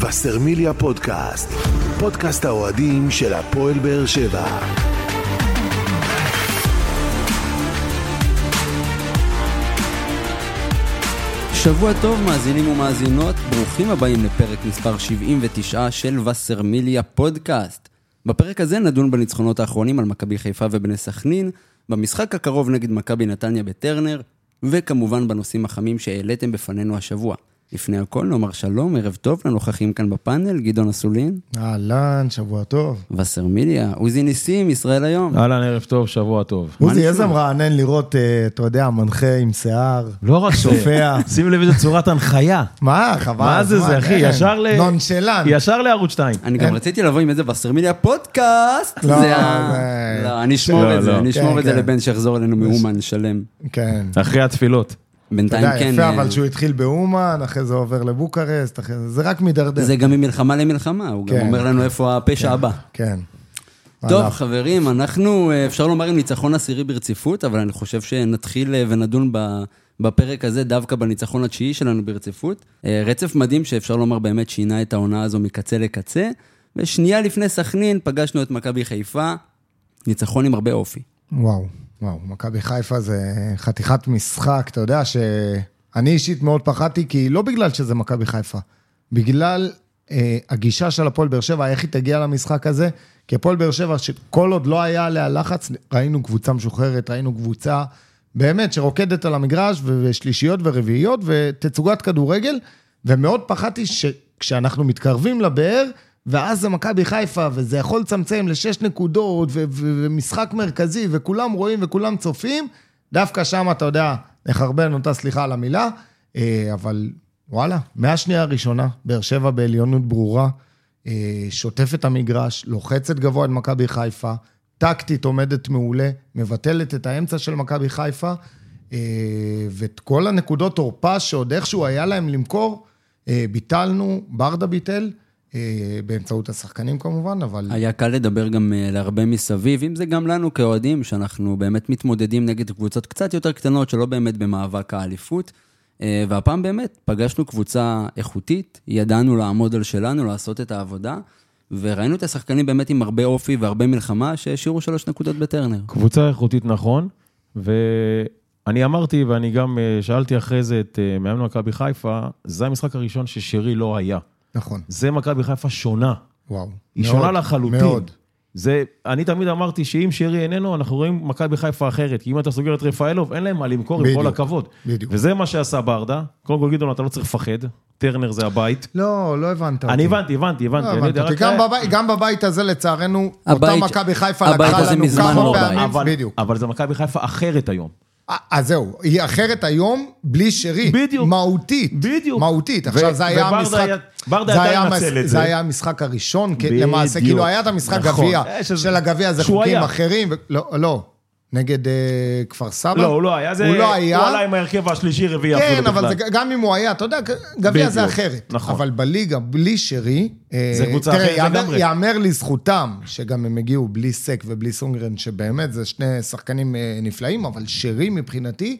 וסרמיליה פודקאסט, פודקאסט האוהדים של הפועל באר שבע. שבוע טוב, מאזינים ומאזינות, ברוכים הבאים לפרק מספר 79 של וסרמיליה פודקאסט. בפרק הזה נדון בניצחונות האחרונים על מכבי חיפה ובני סכנין, במשחק הקרוב נגד מכבי נתניה בטרנר, וכמובן בנושאים החמים שהעליתם בפנינו השבוע. לפני הכל נאמר שלום, ערב טוב לנוכחים כאן בפאנל, גדעון אסולין, אהלן, אה, שבוע טוב. וסרמיליה, עוזי ניסים, ישראל היום. לא. אהלן, ערב טוב, שבוע טוב. עוזי, נשמע? איזה מרענן לראות, אה, אתה יודע, מנחה עם שיער, לא רק זה, צופע. שים לב איזה צורת הנחיה. מה, חבל. מה זה הזמן, זה, אחי? אין. ישר ל... נונשלן. ישר לערוץ 2. אני גם רציתי לבוא עם איזה וסרמיליה פודקאסט. לא, זה ה- זה- לא, אני אשמור לא, את זה, לא. אני אשמור כן, את זה כן. לבן שיחזור אלינו מאומן שלם. כן. אחרי התפילות. אתה בינתיים יודע, כן. יפה, אה, אבל שהוא התחיל באומן, אחרי זה עובר לבוקרשט, אחרי זה, זה רק מידרדר. זה גם ממלחמה למלחמה, הוא גם כן. אומר לנו איפה הפשע הבא. כן. לא? טוב, הלך. חברים, אנחנו, אה, אפשר לומר, עם ניצחון עשירי ברציפות, אבל אני חושב שנתחיל אה, ונדון ב- בפרק הזה דווקא בניצחון התשיעי שלנו ברציפות. אה, רצף מדהים שאפשר לומר באמת שינה את העונה הזו מקצה לקצה. ושנייה לפני סכנין פגשנו את מכבי חיפה, ניצחון עם הרבה אופי. וואו, וואו, מכבי חיפה זה חתיכת משחק, אתה יודע שאני אישית מאוד פחדתי, כי לא בגלל שזה מכבי חיפה, בגלל אה, הגישה של הפועל באר שבע, איך היא תגיע למשחק הזה, כי הפועל באר שבע, שכל עוד לא היה עליה לחץ, ראינו קבוצה משוחררת, ראינו קבוצה באמת שרוקדת על המגרש, ו- ושלישיות ורביעיות, ותצוגת כדורגל, ומאוד פחדתי שכשאנחנו מתקרבים לבאר, ואז זה מכבי חיפה, וזה יכול לצמצם לשש נקודות, ו- ו- ומשחק מרכזי, וכולם רואים וכולם צופים, דווקא שם, אתה יודע, נחרבן אותה, סליחה על המילה, אה, אבל וואלה, מהשנייה הראשונה, באר שבע בעליונות ברורה, אה, שוטף את המגרש, לוחצת גבוה את מכבי חיפה, טקטית עומדת מעולה, מבטלת את האמצע של מכבי חיפה, אה, ואת כל הנקודות תורפה שעוד איכשהו היה להם למכור, אה, ביטלנו, ברדה ביטל, אה, באמצעות השחקנים כמובן, אבל... היה קל לדבר גם אה, להרבה מסביב, אם זה גם לנו כאוהדים, שאנחנו באמת מתמודדים נגד קבוצות קצת יותר קטנות, שלא באמת במאבק האליפות. אה, והפעם באמת, פגשנו קבוצה איכותית, ידענו לעמוד על שלנו, לעשות את העבודה, וראינו את השחקנים באמת עם הרבה אופי והרבה מלחמה, שהשאירו שלוש נקודות בטרנר. קבוצה איכותית, נכון. ואני אמרתי, ואני גם אה, שאלתי אחרי זה את אה, מאמן מכבי חיפה, זה המשחק הראשון ששרי לא היה. נכון, זה מכבי חיפה שונה. וואו. היא מאוד, שונה לחלוטין. מאוד. זה, אני תמיד אמרתי שאם שרי איננו, אנחנו רואים מכבי חיפה אחרת. כי אם אתה סוגר את רפאלוב, אין להם מה למכור, עם כל בדיוק, הכבוד. בדיוק. וזה מה שעשה ברדה. קודם כל, גדעון, אתה לא צריך לפחד, טרנר זה הבית. לא, לא הבנת אותי. אני הבנתי, הבנתי, הבנתי. לא אני הבנת יודע, אותי. רק- גם בבית- גם בבית הזה, לצערנו, אותה הבית- מכבי חיפה הבית לקחה הזה לנו מזמן כמה לא בית. פעמים, אבל- בדיוק. אבל זה מכבי חיפה אחרת היום. אז אה, זהו, היא אחרת היום, בלי שרי. בדיוק. מהותית. בדיוק. מהותית. ו- עכשיו, זה היה וברדה המשחק... היה- ברדה זה ידע היה לנצל המס- את זה זה. היה המשחק הראשון, כ- בדיוק. למעשה. כאילו, היה את המשחק נכון. גביע. אה, שזה- של הגביע זה שהוא חוקים היה. אחרים. ו- לא, לא. נגד אה, כפר סבא? לא, הוא לא היה. זה- הוא לא היה. הוא עלה עם ההרכב השלישי-רביעי אפילו כן, בכלל. אבל זה, גם אם הוא היה, אתה יודע, גביע זה בדיוק, אחרת. נכון. אבל בליגה, בלי שרי, אה, זה קבוצה תראה, אחרת יאמר- לגמרי. יאמר לזכותם, שגם הם הגיעו בלי סק ובלי סונגרן, שבאמת זה שני שחקנים אה, נפלאים, אבל שרי מבחינתי,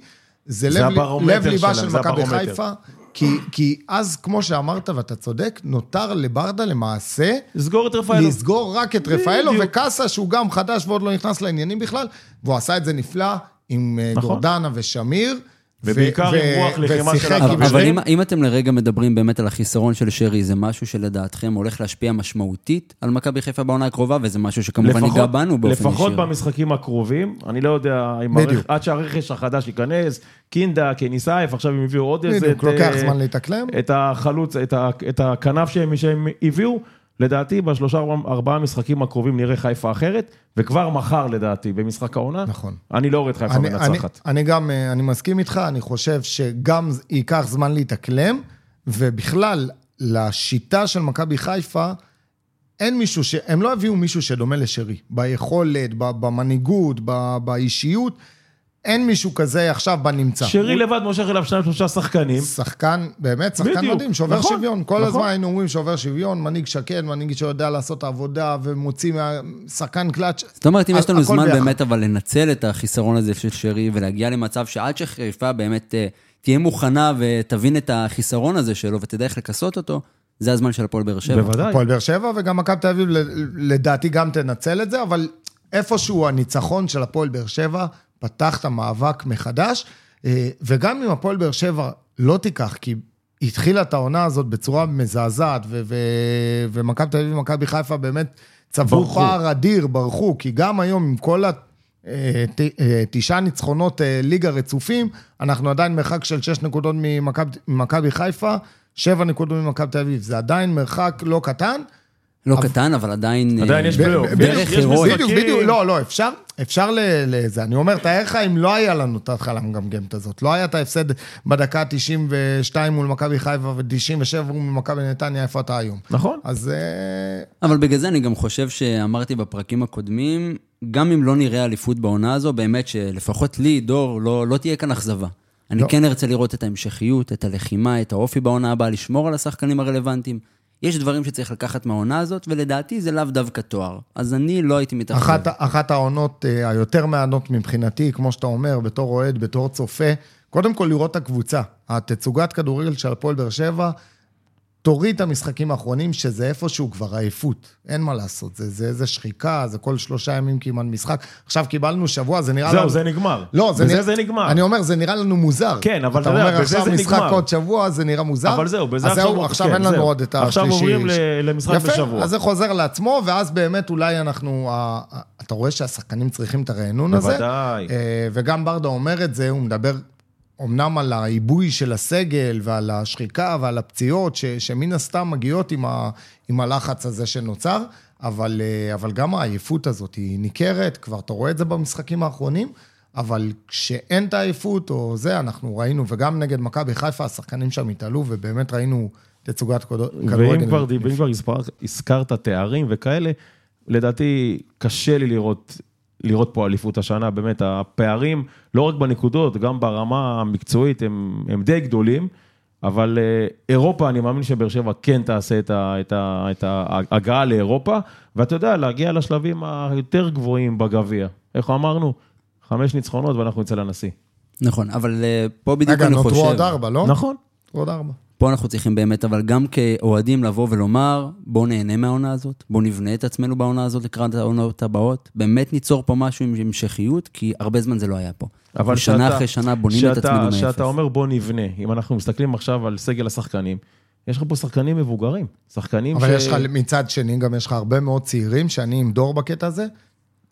זה זה לב- הברומטר לב ליבה שלהם, של זה מכבי הברומטר. חיפה. כי, כי אז, כמו שאמרת, ואתה צודק, נותר לברדה למעשה לסגור את רפאלוב. לסגור רק את רפאלו בדיוק. וקאסה, שהוא גם חדש ועוד לא נכנס לעניינים בכלל, והוא עשה את זה נפלא עם אה, נכון. גורדנה ושמיר. ו- ובעיקר עם ו- רוח לחימה ושיחק של עם החברים. אבל אבל שניהם. אם, אם אתם לרגע מדברים באמת על החיסרון של שרי, זה משהו שלדעתכם הולך להשפיע משמעותית על מכבי חיפה בעונה הקרובה, וזה משהו שכמובן ייגע בנו באופן ישיר. לפחות במשחקים הקרובים, אני לא יודע אם בדיוק. הרכ... עד שהרכש החדש ייכנס, קינדה, קניסייף, עכשיו הם הביאו עוד איזה... בדיוק, את, לוקח אה, זמן להתאקלם. את החלוץ, את, ה... את הכנף שהם, שהם הביאו. לדעתי, בשלושה ארבעה- ארבעה המשחקים הקרובים נראה חיפה אחרת, וכבר מחר, לדעתי, במשחק העונה, נכון. אני לא רואה את חיפה אני, מנצחת. אני גם, אה, אני מסכים איתך, אני חושב שגם זה- ייקח זמן להתאקלם, ובכלל, לשיטה של מכבי חיפה, אין מישהו ש... הם לא הביאו מישהו שדומה לשרי, ביכולת, ב- במנהיגות, ב- באישיות, אין מישהו כזה עכשיו בנמצא. שרי לבד מושך אליו שניים שלושה שחקנים, שחקן, באמת, שחקן בדיוק, מדהים, שובר נכון, שוויון. כל נכון. הזמן היינו אומרים שובר שוויון, מנהיג שקן, מנהיג שיודע לעשות את העבודה ומוציא מה... שחקן קלאץ'. זאת אומרת, אם יש לנו הכל זמן ביחד. באמת, אבל לנצל את החיסרון הזה של שרי ולהגיע למצב שעד שחיפה באמת אה, תהיה מוכנה ותבין את החיסרון הזה שלו ותדע איך לכסות אותו, זה הזמן של הפועל באר שבע. בוודאי. הפועל באר שבע וגם מכבי תל אביב ל- לדעתי גם תנצל את זה, אבל איפשהו הניצחון של הפועל באר שבע פתח את המאבק מחדש, אה, וגם אם הפועל באר שבע לא תיקח, כי היא התחילה את העונה הזאת בצורה מזעזעת, ו- ו- ומכבי תל אביב ומכבי חיפה באמת צברו ברחו. פער אדיר, ברחו, כי גם היום עם כל ה... אה, ת- אה, תשעה ניצחונות אה, ליגה רצופים, אנחנו עדיין מרחק של שש נקודות ממכבי- ממכבי חיפה, שבע נקודות ממכבי תל אביב. זה עדיין מרחק לא קטן, לא קטן, אבל עדיין... עדיין אה, יש ב- פלייאוף. ב- דרך יש- יש הירואית. משחקים. בדיוק, בדיוק, לא, לא, אפשר, אפשר ל- לזה. אני אומר, תאר לך אם לא היה לנו את ההתחלה המגמגמת הזאת. לא היה את ההפסד בדקה 92 מול מכבי חיפה ו-97 מול מכבי נתניה, איפה אתה היום? נכון. אז אה, אבל בגלל זה אני גם חושב שאמרתי בפרקים הקודמים, גם אם לא נראה אליפות בעונה הזו, באמת שלפחות לי, דור, לא, לא תהיה כאן אכזבה. אני לא. כן ארצה לראות את ההמשכיות, את הלחימה, את האופי בעונה הבאה, לשמור על השחקנים הרלוונטיים. יש דברים שצריך לקחת מהעונה הזאת, ולדעתי זה לאו דווקא תואר. אז אני לא הייתי מתאכזב. אחת, אחת העונות אה, היותר מענות מבחינתי, כמו שאתה אומר, בתור אוהד, בתור צופה, קודם כל לראות את הקבוצה. התצוגת כדורגל של הפועל באר שבע, תוריד את המשחקים האחרונים, שזה איפשהו כבר עייפות. אין מה לעשות, זה, זה, זה שחיקה, זה כל שלושה ימים כמעט משחק. עכשיו קיבלנו שבוע, זה נראה זהו, לנו... זה נגמר. לא, זה, בזה זה נגמר. אני אומר, זה נראה לנו מוזר. כן, אבל אתה אתה יודע, אומר, בזה עכשיו זה משחק נגמר. עוד שבוע, זה נראה מוזר. אבל זהו, בזה אז עכשיו- זהו, עכשיו כן, אין לנו זהו. עוד את השלישי. עכשיו עוברים ל- למשחק יפה, בשבוע. אז זה חוזר לעצמו, ואז באמת אולי אנחנו... ה- ה- אתה רואה שהשחקנים צריכים את הרענון הזה. בוודאי. אה, וגם ברדה אומר את זה, הוא מדבר אמנם על העיבוי של הסגל ועל השחיקה ועל הפציעות, ש, שמן הסתם מגיעות עם, ה, עם הלחץ הזה שנוצר, אבל, אה, אבל גם העייפות הזאת היא ניכרת, כבר אתה רואה את זה במשחקים האחרונים. אבל כשאין את העייפות או זה, אנחנו ראינו, וגם נגד מכבי חיפה, השחקנים שם התעלו, ובאמת ראינו תצוגת כדור- כדורגל. ואם כבר, ואם כבר הזכר- הזכרת תארים וכאלה, לדעתי קשה לי לראות, לראות פה אליפות השנה, באמת, הפערים, לא רק בנקודות, גם ברמה המקצועית, הם, הם די גדולים, אבל אה, אירופה, אני מאמין שבאר שבע כן תעשה את, ה, את, ה, את ההגעה לאירופה, ואתה יודע, להגיע לשלבים היותר גבוהים בגביע. איך אמרנו? חמש ניצחונות ואנחנו נצא לנשיא. נכון, אבל אה, פה בדיוק רגע, אני נותרו חושב... עוד ארבע, לא? נכון. נותרו עוד ארבע. פה אנחנו צריכים באמת, אבל גם כאוהדים לבוא ולומר, בואו נהנה מהעונה הזאת, בואו נבנה את עצמנו בעונה הזאת לקראת העונות הבאות, באמת ניצור פה משהו עם המשכיות, כי הרבה זמן זה לא היה פה. אבל שנה שאתה- אחרי שנה בונים את שאתה- עצמנו מאפס. שאתה אומר בוא נבנה, אם אנחנו מסתכלים עכשיו על סגל השחקנים, יש לך פה שחקנים מבוגרים, שחקנים אבל יש לך, מצד שני, גם יש לך הרבה מאוד צעירים, שאני עם דור בקטע הזה,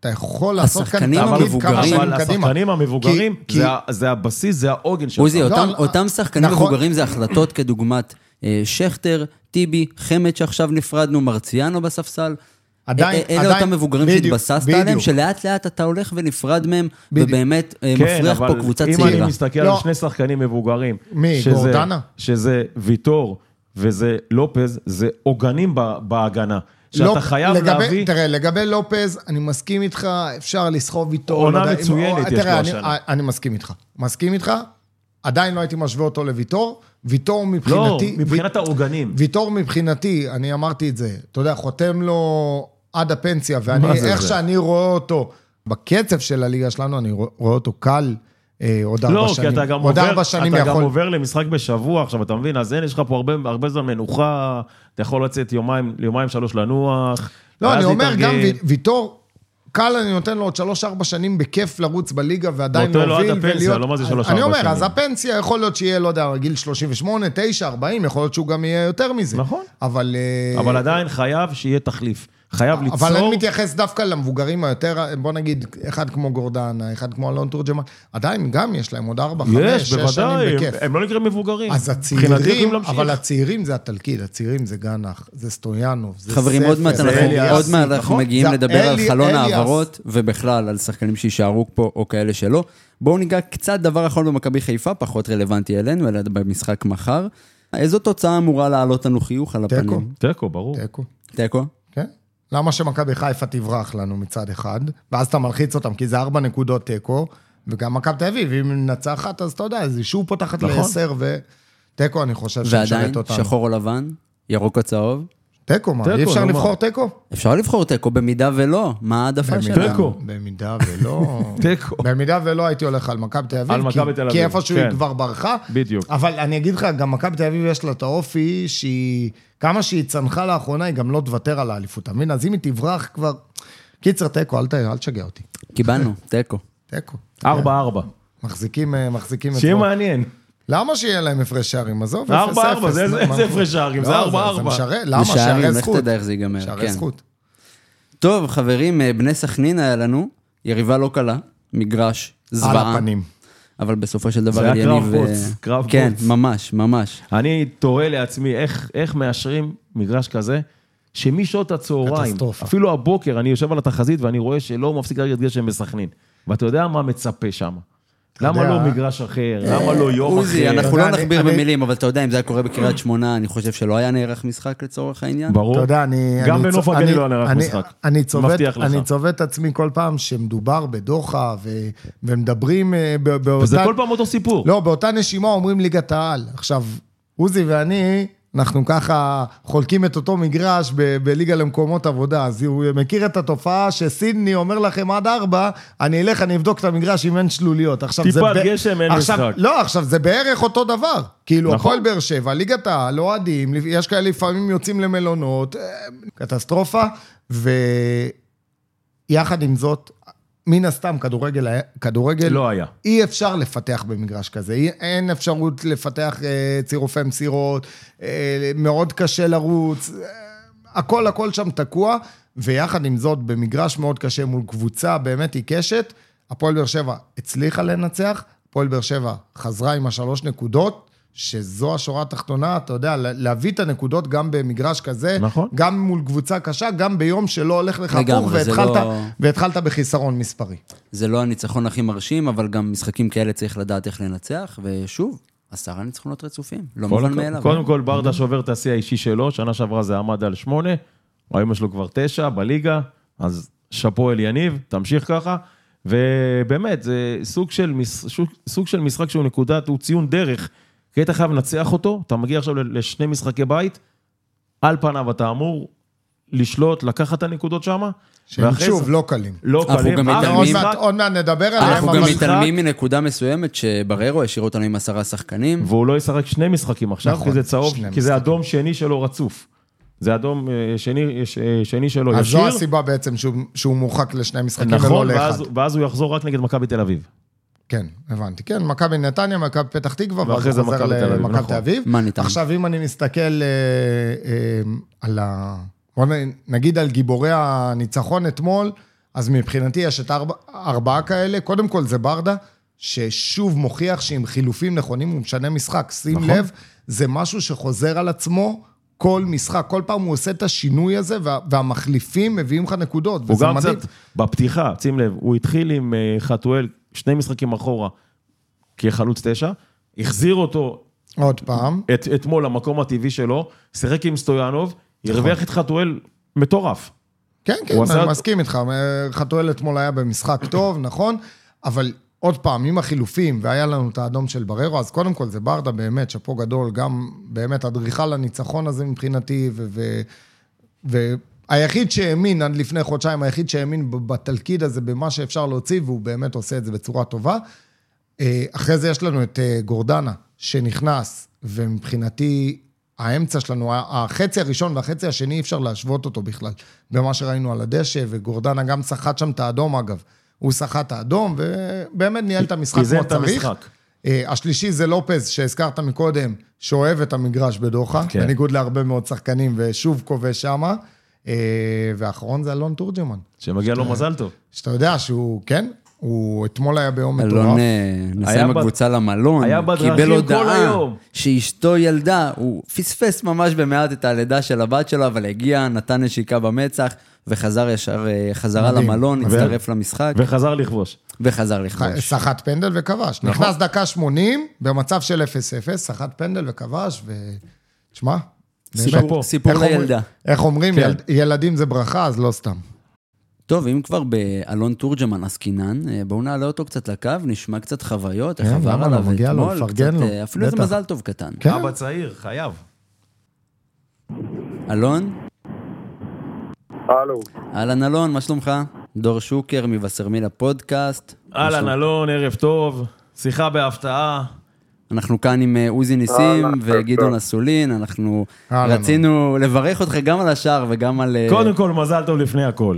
אתה יכול לעשות כאן השחקנים תמיד כמה המבוגרים- שנים אבל קדימה. השחקנים המבוגרים, כי- זה ה- זה הבסיס, זה העוגן שלך. עוזי, לא, אותם, אבל- אותם שחקנים נכון. מבוגרים זה החלטות כדוגמת אה, שכטר, טיבי, חמד שעכשיו נפרדנו, מרציאנו בספסל. עדיין- אה, אה, אלה עדיין- אותם מבוגרים בדיוק, שהתבססת בדיוק. עליהם, שלאט לאט אתה הולך ונפרד מהם, בדיוק. ובאמת אה, כן, מפריח פה אבל קבוצה אם צעירה. אני מסתכל לא. על שני שחקנים מבוגרים, מי, שזה- גורדנה? שזה ויטור וזה לופז, זה עוגנים ב- בהגנה. שאתה לא- חייב לגבי- להביא... תראה, לגבי לופז, אני מסכים איתך, אפשר לסחוב איתו. עונה לא יודע אם- מצוינת או- יש לו תראה, אני- אה, השנה. אני מסכים איתך. מסכים איתך, עדיין לא הייתי משווה אותו לוויטור. ויטור לא, מבחינתי... מבחינת העוגנים. ויטור מבחינתי, אני אמרתי את זה, אתה יודע, חותם לו עד הפנסיה, ואני, מה זה איך זה? שאני רואה אותו, בקצב של הליגה שלנו, אני רוא- רואה אותו קל אה, עוד ארבע לא, שנים. כי אתה גם עוד עובר- ארבע שנים אתה גם יכול... עובר למשחק בשבוע, עכשיו, אתה מבין? אז אין, יש לך פה הרבה- הרבה זמן מנוחה, אתה יכול לצאת יומיים, יומיים שלוש לנוח. לא, ואז אני אומר, גם להתארגן. וי- ויטור, קל אני נותן לו עוד שלוש-ארבע שנים בכיף לרוץ בליגה ועדיין נותן להוביל לו ולהיות... עד הפנסיה, לא מה זה אז- שלוש-ארבע אני אומר, שנים. אז הפנסיה, יכול להיות שיהיה, לא יודע, גיל 38, 9, 40, יכול להיות שהוא גם יהיה יותר מזה. נכון. אבל... אה, אבל עדיין חייב שיהיה תחליף. חייב ליצור... אבל אני מתייחס דווקא למבוגרים היותר, בוא נגיד, אחד כמו גורדנה, אחד כמו אלון תורג'מן, עדיין גם יש להם עוד ארבע, חמש, יש, שש שנים בוודאי, בכיף. הם- הם לא נקראים מבוגרים. אז מבחינתי יכולים הצעירים, להמשיך. אבל הצעירים זה התלקיד, הצעירים זה גנח, זה סטויאנוב, זה ספר. חברים, עוד מעט זה אנחנו- אליאס, עוד מעט אנחנו נכון? מגיעים זה לדבר על אלי- חלון אליאס. העברות, ובכלל על שחקנים שיישארו פה או כאלה שלא. בואו ניגע קצת דבר אחרון במכבי חיפה, פחות רלוונטי אלינו, אלא במשחק מחר. איזו תוצאה אמורה לעלות לנו חיוך על הפנים? תיקו. תיקו, ברור. תיקו, תיקו? כן. למה שמכבי חיפה תברח לנו מצד אחד, ואז אתה מלחיץ אותם, כי זה ארבע נקודות תיקו, וגם מכבי תל אביב, אם ננצחת, אז אתה יודע, אז היא שוב פותחת נכון. לעשר, ותיקו, אני חושב שמשרת ועדיין, אותנו. שחור או לבן, ירוק או צהוב, תיקו, מה? תיקו, אי אפשר נו, מה? לבחור תיקו? אפשר לבחור תיקו, במידה ולא, מה ההעדפה במידה- שלה? תיקו. במידה ולא... תיקו. במידה ולא הייתי הולך על מכבי תל אביב. על כי- מכבי תל כי אביב, איפשהו כן. היא כבר ברחה. בדיוק. אבל אני אגיד לך, גם מכבי תל אביב יש לה את האופי שהיא... כמה שהיא צנחה לאחרונה, היא גם לא תוותר על האליפות, אתה מבין? אז אם היא תברח כבר... קיצר, תיקו, אל ת- אל תשגע אותי. קיבלנו, תיקו. תיקו. ארבע, ארבע. מחזיקים, אה, מחזיקים את שיהיה זה. מעניין. למה שיהיה להם הפרש שערים? עזוב, ארבע, אפס, ארבע, אפס, זה- נו, זה- מה- זה הפרש שערים, זה לא, ארבע, זה ארבע. משרת, למה? זה שערים, שערי לך זכות. תדע איך זה ייגמר, שערי כן. זכות. טוב, חברים, אה, בני סכנין היה לנו, יריבה לא קלה, מגרש, על זוועה. הפנים. אבל בסופו של דבר זה היה אליניב, קרב אה, חוץ, קרב כן, חוץ. ממש, ממש. אני תוהה לעצמי איך, איך מאשרים מגרש כזה, שמשעות הצהריים, קטסטרופה. אפילו הבוקר, אני יושב על התחזית ואני רואה שלא מפסיק לרגע גשם בסכנין. ואתה יודע מה מצפה שם. למה יודע. אה? לא מגרש אחר? למה לא יום עוזי, אחר? אנחנו לא אני- נכביר אני- במילים, אבל אתה יודע, אם זה היה קורה בקריית שמונה, אני חושב שלא היה נערך משחק לצורך העניין. ברור. אתה יודע, אני... גם אני בנוף צו- הגליל אני- לא נערך אני- משחק. אני צובט- מבטיח לך. אני צובט את עצמי כל פעם שמדובר בדוחה, ו- ומדברים אה, ב- באותה... וזה כל פעם אותו סיפור. לא, באותה נשימה אומרים ליגת העל. עכשיו, עוזי ואני, אנחנו ככה חולקים את אותו מגרש ב- בליגה למקומות עבודה, אז הוא מכיר את התופעה שסידני אומר לכם עד ארבע, אני אלך, אני אבדוק את המגרש אם אין שלוליות. עכשיו, טיפת זה ב- גשם, אין עכשיו, משחק. לא, עכשיו, זה בערך אותו דבר. כאילו, נכון. הפועל באר שבע, ליגת העל, אוהדים, יש כאלה לפעמים יוצאים למלונות, אה, קטסטרופה, ו... יחד עם זאת, מן הסתם, כדורגל, היה- כדורגל... לא היה. אי אפשר לפתח במגרש כזה, אי- אין אפשרות לפתח אה, צירופי מסירות, אה, מאוד קשה לרוץ, אה, הכל הכל שם תקוע, ויחד עם זאת, במגרש מאוד קשה מול קבוצה באמת עיקשת, הפועל באר שבע הצליחה לנצח, הפועל באר שבע חזרה עם השלוש נקודות. שזו השורה התחתונה, אתה יודע, לה- להביא את הנקודות גם במגרש כזה, נכון. גם מול קבוצה קשה, גם ביום שלא הולך לך לגמרי, הפוך, זה והתחלת, לא- והתחלת בחיסרון מספרי. זה לא הניצחון הכי מרשים, אבל גם משחקים כאלה צריך לדעת איך לנצח, ושוב, עשרה ניצחונות רצופים, לא קודם מובן כל- מאליו. קודם כל, ברדה שובר את השיא האישי שלו, שנה שעברה זה עמד על שמונה, היום יש לו כבר תשע בליגה, אז שאפו אל יניב, תמשיך ככה. ובאמת, זה סוג של, מש... שוק- סוג של משחק שהוא נקודת, הוא ציון דרך. כי היית חייב לנצח אותו, אתה מגיע עכשיו ל- לשני משחקי בית, על פניו אתה אמור לשלוט, לקחת את הנקודות שם, שהם שוב לא קלים. לא אנחנו קלים. גם אף עוד מתעלמים- משחק, מעט- עוד מעט נדבר עליהם, אנחנו גם אבל... המשחק- מתעלמים מנקודה מסוימת שבררו השאיר אותנו עם עשרה שחקנים. והוא לא ישחק שני משחקים עכשיו, נכון, כי זה צהוב, שני כי זה אדום שני שלו רצוף. זה אדום אה, שני, ש- אה, שני שלו ישיר. אז זו הסיבה בעצם שהוא שהוא מורחק לשני משחקים ולא נכון, לאחד. ואז, ואז הוא יחזור רק נגד מכבי תל אביב. כן, הבנתי. כן, מכבי נתניה, מכבי פתח תקווה, ואחרי ואז זה הוא חוזר מכבי תל אביב, למכבי נכון. תל אביב. מה ניתן? עכשיו, אם אני מסתכל אה, אה, על ה... בוא נ- נגיד על גיבורי הניצחון אתמול, אז מבחינתי יש את ארבע- ארבעה כאלה. קודם כל זה ברדה, ששוב מוכיח שעם חילופים נכונים הוא משנה משחק. שים נכון. לב, זה משהו שחוזר על עצמו. כל משחק, כל פעם הוא עושה את השינוי הזה, וה, והמחליפים מביאים לך נקודות, הוא וזה גם מדהים. קצת, בפתיחה, שים לב, הוא התחיל עם אה, חתואל שני משחקים אחורה כחלוץ תשע, החזיר אותו עוד פעם. את, אתמול למקום הטבעי שלו, שיחק עם סטויאנוב, נכון. הרוויח את חתואל מטורף. כן, כן, הוא אני עשה- מסכים איתך. חתואל אתמול היה במשחק טוב, נכון, אבל עוד פעם, עם החילופים, והיה לנו את האדום של בררו, אז קודם כל זה ברדה באמת, שאפו גדול, גם באמת אדריכל הניצחון הזה מבחינתי, ו... ו- והיחיד שהאמין עד לפני חודשיים, היחיד שהאמין ב- בתלכיד הזה, במה שאפשר להוציא, והוא באמת עושה את זה בצורה טובה. אה, אחרי זה יש לנו את אה, גורדנה, שנכנס, ומבחינתי, האמצע שלנו, ה- החצי הראשון והחצי השני, אי אפשר להשוות אותו בכלל, במה שראינו על הדשא, וגורדנה גם סחט שם את האדום, אגב. הוא סחט את האדום, ובאמת ניהל את המשחק איזן כמו את צריך. המשחק. אה, השלישי זה לופז, שהזכרת מקודם, שאוהב את המגרש בדוחה, כן. כן. בניגוד להרבה מאוד שחקנים, ושוב כובש שמה. אה, והאחרון זה אלון תורג'מן, שמגיע כן. לו מזל טוב. שאתה יודע שהוא, כן, הוא אתמול היה ביום מטורף. אלון אה, נסע היה עם בת- הקבוצה למלון, היה בדרכים קיבל כל הודעה היום. שאשתו ילדה, הוא פספס ממש במעט את הלידה של הבת שלו, אבל הגיע, נתן נשיקה במצח, וחזר ישר אה, חזרה מדהים. למלון, ו- אה, הצטרף למשחק, וחזר לכבוש. וחזר לכבוש. סחט פנדל וכבש. נכון. נכנס דקה 80, במצב של 0-0, סחט פנדל וכבש, ו... תשמע, סיפור- באמת. סיפור איך אומרים- לילדה. איך אומרים, כן. יל... ילדים זה ברכה, אז לא סתם. טוב, אם כבר באלון תורג'מן עסקינן, אה, בואו נעלה אותו קצת לקו, נשמע קצת חוויות, איך כן, עבר למה לא? עליו מגיע לו, אתמול, מפרגן קצת, לו, אה, אפילו איזה כן. בטח. מזל טוב קטן. כן, אבא צעיר, חייב. אלון, הלו, אהלן אלון, מה שלומך? דור שוקר מווסרמילה פודקאסט. מה אהלן, שלום- אלון, ערב טוב, שיחה בהפתעה. אנחנו כאן עם אה, עוזי ניסים אהלן, וגדעון אהלן. אסולין, אנחנו אהלן. רצינו לברך אותך גם על השער וגם על... אה, קודם כל, מזל טוב לפני הכל.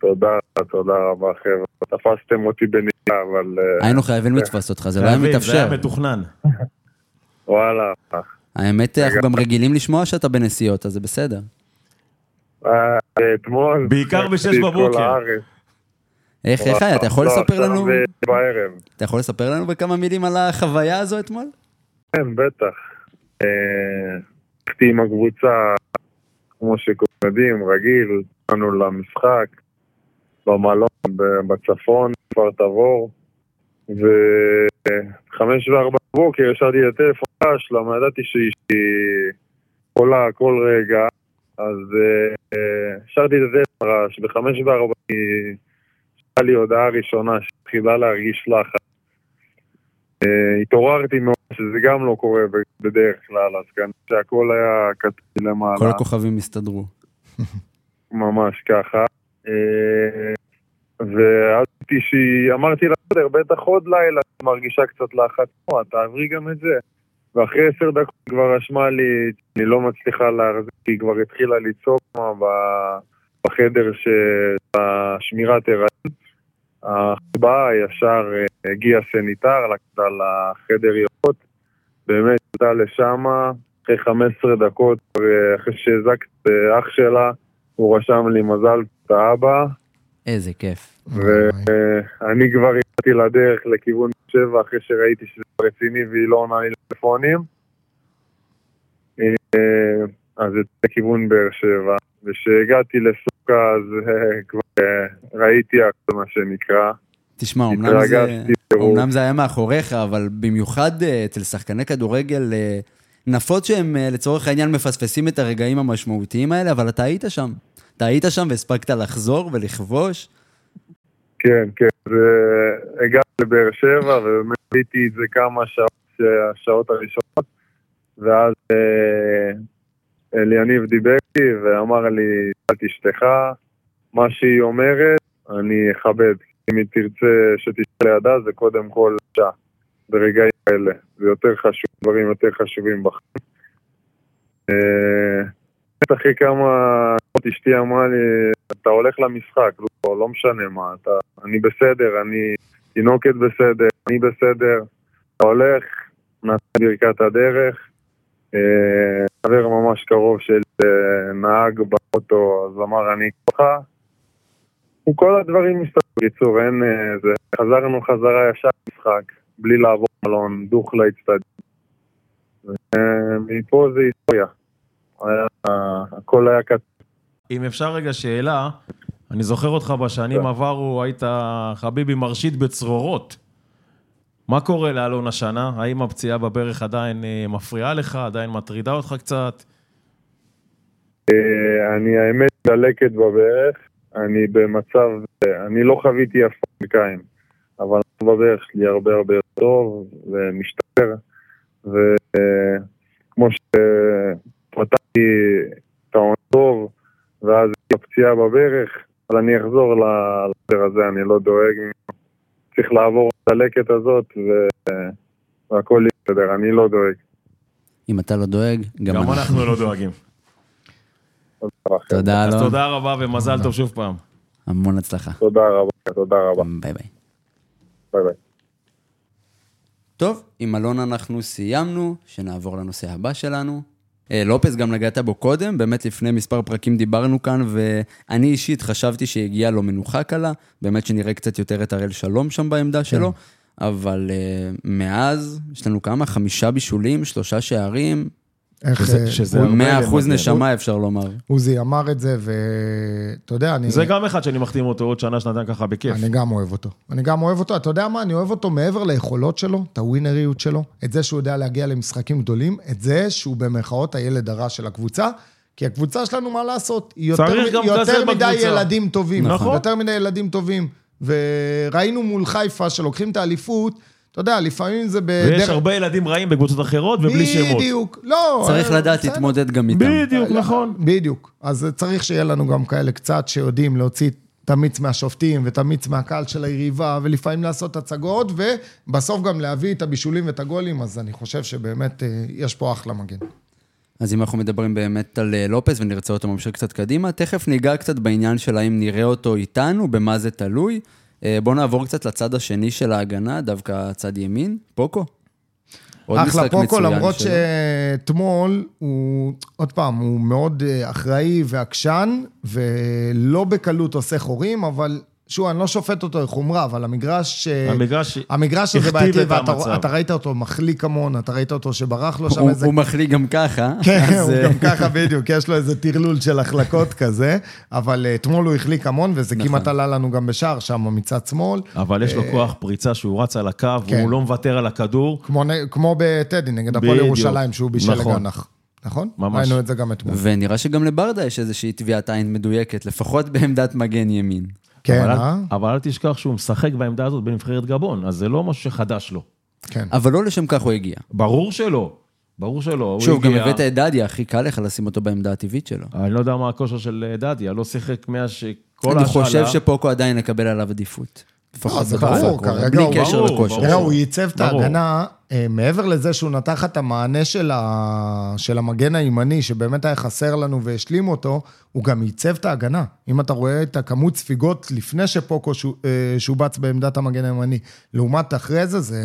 תודה, תודה רבה חבר'ה. תפסתם אותי בנהיגה, אבל אה, היינו חייבים לתפוס אותך, זה לא היה להבין, זה מתאפשר. היה מתוכנן. וואלה. האמת, אנחנו גם רגילים לשמוע שאתה בנסיעות, אז זה בסדר. אה, אתמול... בעיקר בשש עשיתי את כל בבוקר. הארץ. איך, איך היה? אה, אתה יכול לא, לספר עכשיו לנו... זה בערב. אתה יכול לספר לנו בכמה מילים על החוויה הזו אתמול? כן, בטח. אה, הלכתי עם הקבוצה, כמו שכולם יודעים, רגיל, באנו למשחק, במלון ב- בצפון, כפר תבור, וחמש וארבע בבוקר ישבתי לטלפון רעש, למה ידעתי שהיא עולה כל רגע, אז אה, אה, השארתי את הטלפון רעש, בחמש וארבע היא הייתה לי הודעה ראשונה שהתחילה להרגיש לחץ. אה, התעוררתי מאוד, שזה גם לא קורה ב- בדרך כלל, אז כנראה שהכל היה קטן כל למעלה, הכוכבים הסתדרו. ממש ככה. אה, ואז הייתי שהיא, אמרתי לה, בסדר, בטח עוד לילה, את מרגישה קצת לחץ, "נו, את תעברי גם את זה. ואחרי עשר דקות היא כבר רשמה לי, אני לא מצליחה להחזיק, היא כבר התחילה לצעוק מה, ב- בחדר של השמירת הריון. החבאה ישר אה, הגיע סניטר, לקחה לחדר יפות, באמת עלתה לשמה, אחרי 15 דקות, אה, אחרי שהזקת אה, אח שלה, הוא רשם לי מזל את האבא, איזה כיף. ואני אה, כבר הגעתי לדרך לכיוון שבע אחרי שראיתי שזה רציני והיא לא עונה לי לטלפונים. אה, אז יצא לכיוון באר שבע, וכשהגעתי לסוכה אז אה, כבר אה, ראיתי הכל מה שנקרא. תשמע, אמנם זה... התרגשתי טירוף. אמנם זה היה מאחוריך, אבל במיוחד אה, אצל שחקני כדורגל אה, נפוץ שהם אה, לצורך העניין מפספסים את הרגעים המשמעותיים האלה, אבל אתה היית שם. אתה היית שם והספקת לחזור ולכבוש. כן, כן, והגעתי לבאר שבע ובאמת ראיתי את זה כמה שעות, השעות הראשונות ואז אה, אליניב דיבר איתי ואמר לי, אל תשתך, מה שהיא אומרת, אני אכבד. אם היא תרצה שתשתה לידה, זה קודם כל שעה, ברגעים האלה. זה יותר חשוב, דברים יותר חשובים בחיים. אה, באמת אחרי כמה שעות אשתי אמרה לי, אתה הולך למשחק, לא, לא משנה מה, אתה, אני בסדר, אני תינוקת בסדר, אני בסדר, אתה הולך, נעשה ברכת הדרך. אה, חבר ממש קרוב של אה, נהג באוטו, אז אמר אני ככה. וכל הדברים מסתכלים, בקיצור, אין אה, זה. חזרנו חזרה ישר למשחק, בלי לעבור מלון, דוך לאצטדיון. אה, מפה זה היסטוריה. היה, הכל היה קטן. אם אפשר רגע שאלה, אני זוכר אותך בשנים כן. עברו, היית חביבי מרשית בצרורות. מה קורה לאלון השנה? האם הפציעה בברך עדיין אה, מפריעה לך, עדיין מטרידה אותך קצת? אה, אני האמת דלקת בברך, אני במצב, אה, אני לא חוויתי אף פעם ברכיים, אבל בברך שלי הרבה הרבה יותר טוב ומשתפר, וכמו שפתחתי את העונה טוב, ואז יש פציעה בברך, אבל אני אחזור ל- לדבר הזה, אני לא דואג, צריך לעבור את הדלקת הזאת ו- והכל יהיה בסדר, אני לא דואג. אם אתה לא דואג, גם גם אנחנו. אנחנו לא דואגים. תודה, אז אלון. תודה רבה ומזל טוב שוב פעם. המון הצלחה. תודה רבה, תודה רבה, ביי ביי. ביי ביי. טוב, עם אלון אנחנו סיימנו, שנעבור לנושא הבא שלנו. אה, לופס, גם נגעת בו קודם, באמת לפני מספר פרקים דיברנו כאן, ואני אישית חשבתי שהגיעה לו מנוחה קלה, באמת שנראה קצת יותר את הראל שלום שם בעמדה כן. שלו, אבל אה, מאז, יש לנו כמה? חמישה בישולים, שלושה שערים, איך... שזה- אה, שזה- זה הוא הרבה 100% למגן. נשמה אפשר לומר. עוזי אמר את זה, ואתה יודע, אה. אני... זה גם אחד שאני מחתים אותו עוד שנה, שנתיים ככה בכיף. אני גם אוהב אותו. אני גם אוהב אותו. אתה יודע מה? אני אוהב אותו מעבר ליכולות שלו, את הווינריות שלו, את זה שהוא יודע להגיע למשחקים גדולים, את זה שהוא במרכאות הילד הרע של הקבוצה, כי הקבוצה שלנו, מה לעשות? היא יותר, צריך גם מ- יותר כזה מדי בקבוצה. ילדים טובים. נכון. יותר מדי ילדים טובים. וראינו מול חיפה שלוקחים את האליפות, אתה יודע, לפעמים זה בדרך... ויש הרבה ילדים רעים בקבוצות אחרות ובלי שמות. בדיוק, אה, לא. צריך אה, לדעת בסדר. להתמודד גם איתם. בדיוק, נכון. בדיוק. אז צריך שיהיה לנו גם כאלה קצת שיודעים להוציא את המיץ מהשופטים ואת המיץ מהקהל של היריבה, ולפעמים לעשות הצגות, ובסוף גם להביא את הבישולים ואת הגולים, אז אני חושב שבאמת אה, יש פה אחלה מגן. אז אם אנחנו מדברים באמת על אה, לופס ונרצה אותו ממשיך קצת קדימה, תכף ניגע קצת בעניין של האם נראה אותו איתנו, במה זה תלוי. אה, בואו נעבור קצת לצד השני של ההגנה, דווקא צד ימין, פוקו. עוד אחלה משחק פוקו, מצוין למרות שלו. שאתמול הוא, עוד פעם, הוא מאוד אה, אחראי ועקשן, ולא בקלות עושה חורים, אבל שוב, אני לא שופט אותו לחומרה, אבל המגרש... אה, המגרש המגרש הזה הכתיב בעייתי, את המצב. ואתה אתה ראית אותו מחליק המון, אתה ראית אותו שברח לו שם הוא- איזה הוא מחליק גם ככה. כן, אז, הוא אה, גם ככה בדיוק, יש לו איזה טרלול של החלקות כזה, אבל אה, אתמול הוא החליק המון, וזה כמעט עלה לנו גם בשער שם מצד שמאל. נכון. אבל יש לו כוח פריצה שהוא רץ על הקו, אה. כן. והוא לא מוותר על הכדור. כמו נ- כמו בטדי נגד הפועל בדיוק. ירושלים, שהוא בישל נכון. לגנח. נכון? ממש. ראינו את זה גם אתמול. ונראה שגם לברדה יש איזושהי טביעת עין מדויקת, לפחות בעמדת מגן ימין. כן, אבל אל- אה? אבל אל תשכח שהוא משחק בעמדה הזאת בנבחרת גבון, אז זה לא משהו שחדש לו. כן. אבל לא לשם כך הוא הגיע. ברור שלא, ברור שלא. הוא שוב, גם הגיע- הבאת את דדיה, הכי קל לך לשים אותו בעמדה הטבעית שלו. אני לא יודע מה הכושר של דדיה, לא שיחק מאז שכל אני חושב ההשאלה- שפוקו עדיין יקבל עליו עדיפות. לא, לפחות זה בתקופה ברור, הקרובה, כרגע בלי הוא- קשר ברור, לכושר. ברור. תראה, הוא ייצב את ברור. ההגנה, אה, מעבר לזה שהוא נתח את המענה של, ה... של המגן הימני, שבאמת היה חסר לנו והשלים אותו, הוא גם ייצב את ההגנה. אם אתה רואה את הכמות ספיגות לפני שפוקו שו- אה, שובץ בעמדת המגן הימני, לעומת אחרי זה, זה,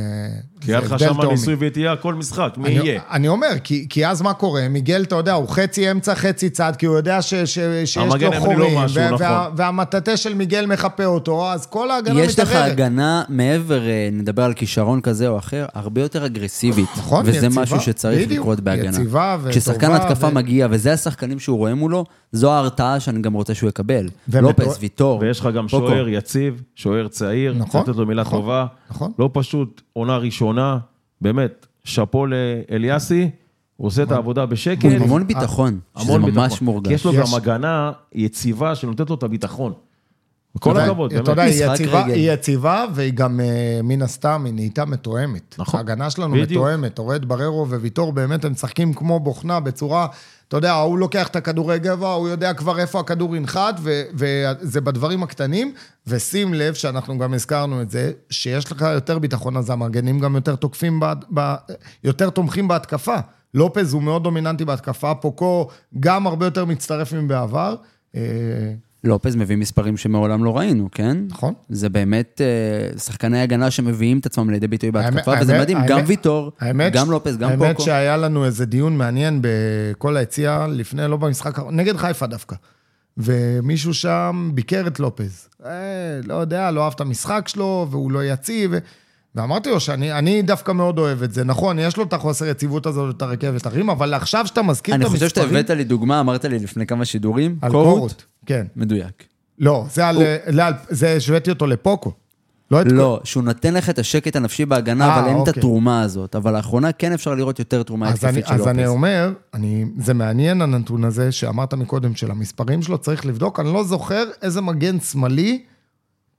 כי היה זה לך הבדל שם תהומי. ניסוי וטעייה כל משחק, מי אני, יהיה? אני אומר, כי, כי אז מה קורה? מיגל, אתה יודע, הוא חצי אמצע, חצי צד, כי הוא יודע ש, ש, שיש המגן לו הימני לא חורים, משהו, נכון. וה, והמטאטא של מיגל מחפה אותו, אז כל ההגנה יש לך מתערערת. הגנה מעבר, אה, נדבר על כישרון כזה או אחר, הרבה יותר אגרסיבית. נכון, וזה ויציבה, משהו שצריך בדיוק, לקרות בהגנה. יציבה וטובה כששחקן התקפה ו- מגיע, וזה השחקנים שהוא רואה מולו, זו ההרתעה שאני גם רוצה שהוא יקבל. ומת- לופס, ויטור, ויש לך גם פוקו. שוער יציב, שוער צעיר, אה, נכון, צריך לתת לו מילה נכון, טובה. נכון. לא פשוט, עונה ראשונה, באמת, שאפו לאליאסי, הוא עושה נכון. את העבודה בשקט. עם כן. אה, המון ביטחון, שזה המון ממש ביטחון. מורגש. כי יש לו יש. גם הגנה יציבה שנותנת לו את הביטחון. כל אתה יודע, הכבוד, אתה יודע, באמת. היא משחק יציבה, רגל. היא יציבה, והיא גם, אה, מן הסתם, היא נהייתה מתואמת. נכון. ההגנה שלנו בדיוק. מתואמת. אתה רואה את בררו וויטור, באמת הם משחקים כמו בוכנה, בצורה... אתה יודע, ההוא לוקח את הכדורי גבע, הוא יודע כבר איפה הכדור ינחת, ו- וזה בדברים הקטנים. ושים לב, שאנחנו גם הזכרנו את זה, שיש לך יותר ביטחון, אז המגנים גם יותר תוקפים, ב- ב- יותר תומכים בהתקפה. לופז הוא מאוד דומיננטי בהתקפה, פוקו גם הרבה יותר מצטרף מבעבר. אה, לופז מביא מספרים שמעולם לא ראינו, כן? נכון. זה באמת אה, שחקני הגנה שמביאים את עצמם לידי ביטוי בהתקפה, האמת- וזה האמת- מדהים, האמת- גם ויטור, האמת ש- גם לופז, גם האמת פוקו. שהיה לנו איזה דיון מעניין בכל היציאה, לפני, לא במשחק, נגד חיפה דווקא. ומישהו שם ביקר את לופז. אה, לא יודע, לא אהב את המשחק שלו, והוא לא יציב. ואמרתי לו שאני אני דווקא מאוד אוהב את זה. נכון, יש לו את החוסר יציבות הזאת, את הרכבת הרים, אבל עכשיו שאתה מזכיר את אני המספרים... חושב שאתה הבאת לי דוגמה, אמרת לי לפני כמה שידורים, על קורות. קורות. כן. מדויק. לא, זה על... לא, על- זה השוויתי אותו לפוקו. לא את לא, שהוא נותן לך את השקט הנפשי בהגנה, אה, אבל אין את אוקיי. התרומה הזאת. אבל לאחרונה כן אפשר לראות יותר תרומה אז אני, התקפית של אז אני לופז. אומר, אני, זה מעניין הנתון הזה שאמרת מקודם, של המספרים שלו, צריך לבדוק. אני לא זוכר איזה מגן שמאלי,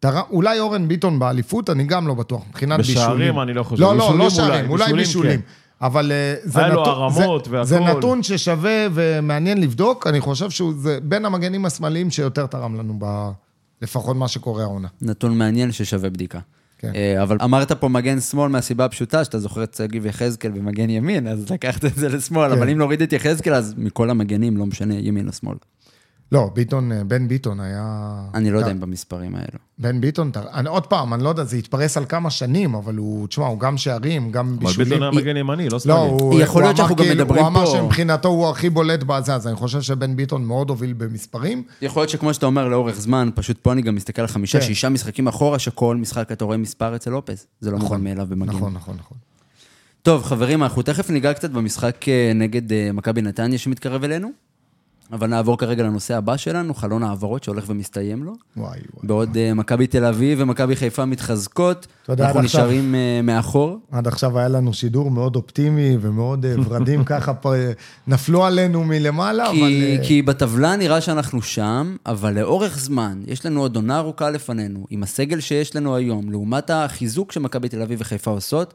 תרם, אולי אורן ביטון באליפות, אני גם לא בטוח, מבחינת בישולים. בשערים אני לא חושב, לא, לא, בישולים לא אולי, שערים, אולי בישולים כן. בישולים. אבל אה, זה היה לו נתון, הרמות זה, והכל. זה נתון ששווה ומעניין לבדוק. אני חושב שהוא זה בין המגנים השמאליים שיותר תרם לנו, ב, לפחות מה שקורה העונה. נתון מעניין ששווה בדיקה. כן. אה, אבל אמרת פה מגן שמאל מהסיבה הפשוטה, שאתה זוכר את שגיב יחזקאל במגן ימין, אז לקחת את זה לשמאל, כן. אבל אם נוריד את יחזקאל, אז מכל המגנים, לא משנה ימין או שמאל. לא, ביטון, אה, בן ביטון היה... אני לא יודע אתה- אם במספרים האלו. בן ביטון, אתה- אני, עוד פעם, אני לא יודע, זה התפרס על כמה שנים, אבל הוא, תשמע, הוא גם שערים, גם אבל בישולים. ביטון היה מגן ימני, לא לא, שמאלי. הוא, יכול הוא להיות אמר שאנחנו גם כאילו- מדברים הוא אמר פה- שמבחינתו הוא הכי בולט בזה, אז אני חושב שבן ביטון מאוד הוביל במספרים. יכול להיות שכמו שאתה אומר, לאורך זמן, פשוט פה אני גם מסתכל על חמישה, כן. שישה משחקים אחורה, שכל משחק אתה רואה מספר אצל לופז. זה לא מובן מאליו במגן. נכון, נכון, נכון. טוב, חברים, אנחנו תכף ניגע קצת במשחק אה, נגד אה, מכבי נתניה שמתקרב אלינו. אבל נעבור כרגע לנושא הבא שלנו, חלון העברות שהולך ומסתיים לו. וואי, וואי. בעוד אה, מכבי תל אביב ומכבי חיפה מתחזקות, יודע, אנחנו עד עכשיו- נשארים אה, מאחור. עד עכשיו היה לנו שידור מאוד אופטימי ומאוד אה, ורדים ככה, פ- נפלו עלינו מלמעלה, אבל... כי, אה, כי בטבלה נראה שאנחנו שם, אבל לאורך זמן, יש לנו עוד עונה ארוכה לפנינו, עם הסגל שיש לנו היום, לעומת החיזוק שמכבי תל אביב וחיפה עושות,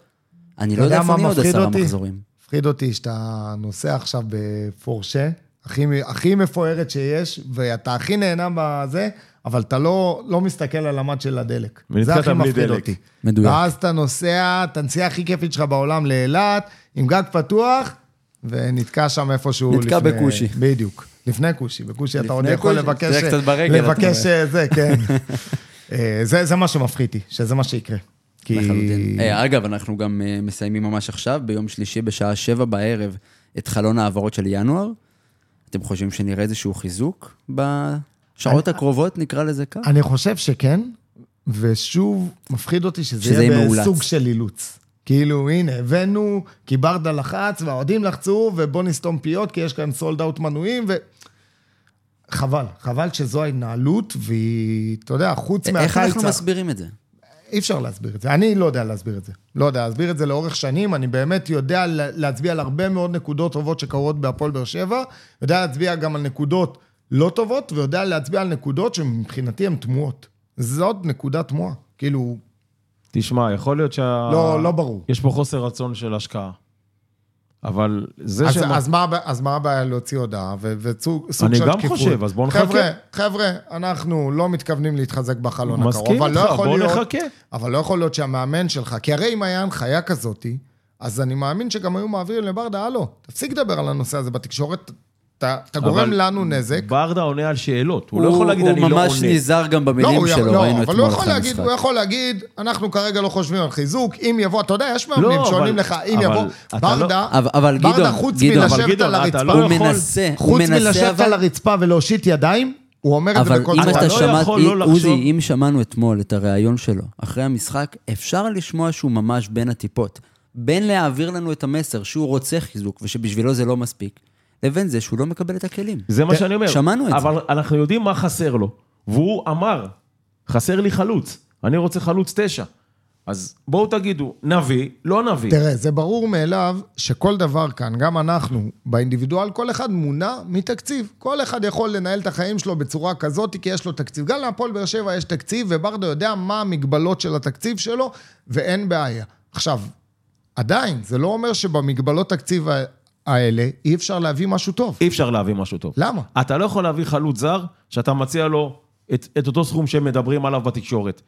אני לא יודע אתה יודע איפה מה נהיה עוד מפחיד עשרה אותי? מחזורים. מפחיד אותי שאתה נוסע עכשיו בפורשה, הכי, הכי מפוארת שיש, ואתה הכי נהנה בזה, אבל אתה לא, לא מסתכל על המד של הדלק. זה ונתקעת הכי בלי מפחיד דלק. אותי. מדויק. ואז אתה נוסע, את הנסיעה הכי כיפית שלך בעולם לאילת, עם גג פתוח, ונתקע שם איפשהו נתקע לפני... בכושי. בדיוק. לפני כושי, בכושי אתה עוד לפני יכול כושי, לבקש... תראה קצת ברגל, אתה לבקש רואה. אה, זה, כן. אה, זה, זה מה שמפחיד אותי, שזה מה שיקרה. כי... לחלוטין. אה, אגב, אנחנו גם אה, מסיימים ממש עכשיו, ביום שלישי בשעה שבע בערב, את חלון ההעברות של ינואר. אתם חושבים שנראה איזשהו חיזוק בשעות הקרובות, נקרא לזה כך? אני חושב שכן, ושוב, מפחיד אותי שזה, שזה יהיה יהיה מאולץ. בסוג של אילוץ. כאילו, הנה, הבאנו, כי ברדה לחץ, והאוהדים לחצו, ובוא נסתום פיות, כי יש כאן סולד אאוט מנויים, ו... חבל, חבל שזו ההתנהלות, והיא, אתה יודע, חוץ איך מהחיל אנחנו צריך... מסבירים את זה? אי אפשר להסביר את זה. אני לא יודע להסביר את זה. לא יודע להסביר את זה לאורך שנים. אני באמת יודע לה- להצביע על הרבה מאוד נקודות טובות שקורות בהפועל באר שבע. יודע להצביע גם על נקודות לא טובות, ויודע להצביע על נקודות שמבחינתי הן תמוהות. זאת נקודה תמוהה. כאילו, תשמע, יכול להיות שה... לא- לא ברור. יש פה חוסר רצון של השקעה. אבל זה אז, שהם... אז, מה, הבע- אז מה הבעיה להוציא הודעה ו- וסוג סוג אני של גם שקיפות? חושב, אז בואו נחכה. חבר'ה, חבר'ה, אנחנו לא מתכוונים להתחזק בחלון הקרוב. מסכים אבל לא איתך, יכול בואו להיות- נחכה. אבל לא יכול להיות שהמאמן שלך, כי הרי אם היה הנחיה כזאתי, אז אני מאמין שגם היו מעבירים לברדה, הלו, תפסיק לדבר על הנושא הזה בתקשורת, ת- אתה גורם אבל- לנו נזק. ברדה עונה על שאלות, הוא לא יכול להגיד אני לא עונה. הוא ממש נזהר גם לא, במילים הוא, שלו, לא, ראינו אבל הוא אתמול יכול אחרי להגיד, המשחק. הוא יכול להגיד, אנחנו כרגע לא חושבים על חיזוק, אם יבוא, אתה יודע, יש מאמנים לא, שעונים אבל- לך, אם אבל יבוא, אתה ברדה, לא- אבל- אבל ברדה גדעון, חוץ גדעון, אבל מלשבת על גדעון, אתה הרצפה, לא הוא יכול. מנסה, הוא חוץ מנסה, מלשבת אבל... על הרצפה ולהושיט ידיים, הוא אומר את זה אבל בכל אם אתה אתה לא שמעת, יכול לא אי- עוזי, לחשוב. אם שמענו אתמול את הריאיון שלו, אחרי המשחק, אפשר לשמוע שהוא ממש בין הטיפות. בין להעביר לנו את המסר שהוא רוצה חיזוק ושבשבילו זה לא מספיק, לבין זה שהוא לא מקבל את הכלים. כן, זה מה שאני אומר. שמענו את זה. אבל אנחנו יודעים מה חסר לו. והוא אמר, חסר לי חלוץ, אני רוצה חלוץ תשע. אז בואו תגידו, נביא, לא נביא. תראה, זה ברור מאליו שכל דבר כאן, גם אנחנו, באינדיבידואל, כל אחד מונע מתקציב. כל אחד יכול לנהל את החיים שלו בצורה כזאת, כי יש לו תקציב. גם להפועל באר שבע יש תקציב, וברדה יודע מה המגבלות של התקציב שלו, ואין בעיה. עכשיו, עדיין, זה לא אומר שבמגבלות תקציב ה- האלה אי אפשר להביא משהו טוב. אי אפשר להביא משהו טוב. למה? אתה לא יכול להביא חלוץ זר שאתה מציע לו את, את אותו סכום שהם מדברים עליו בתקשורת.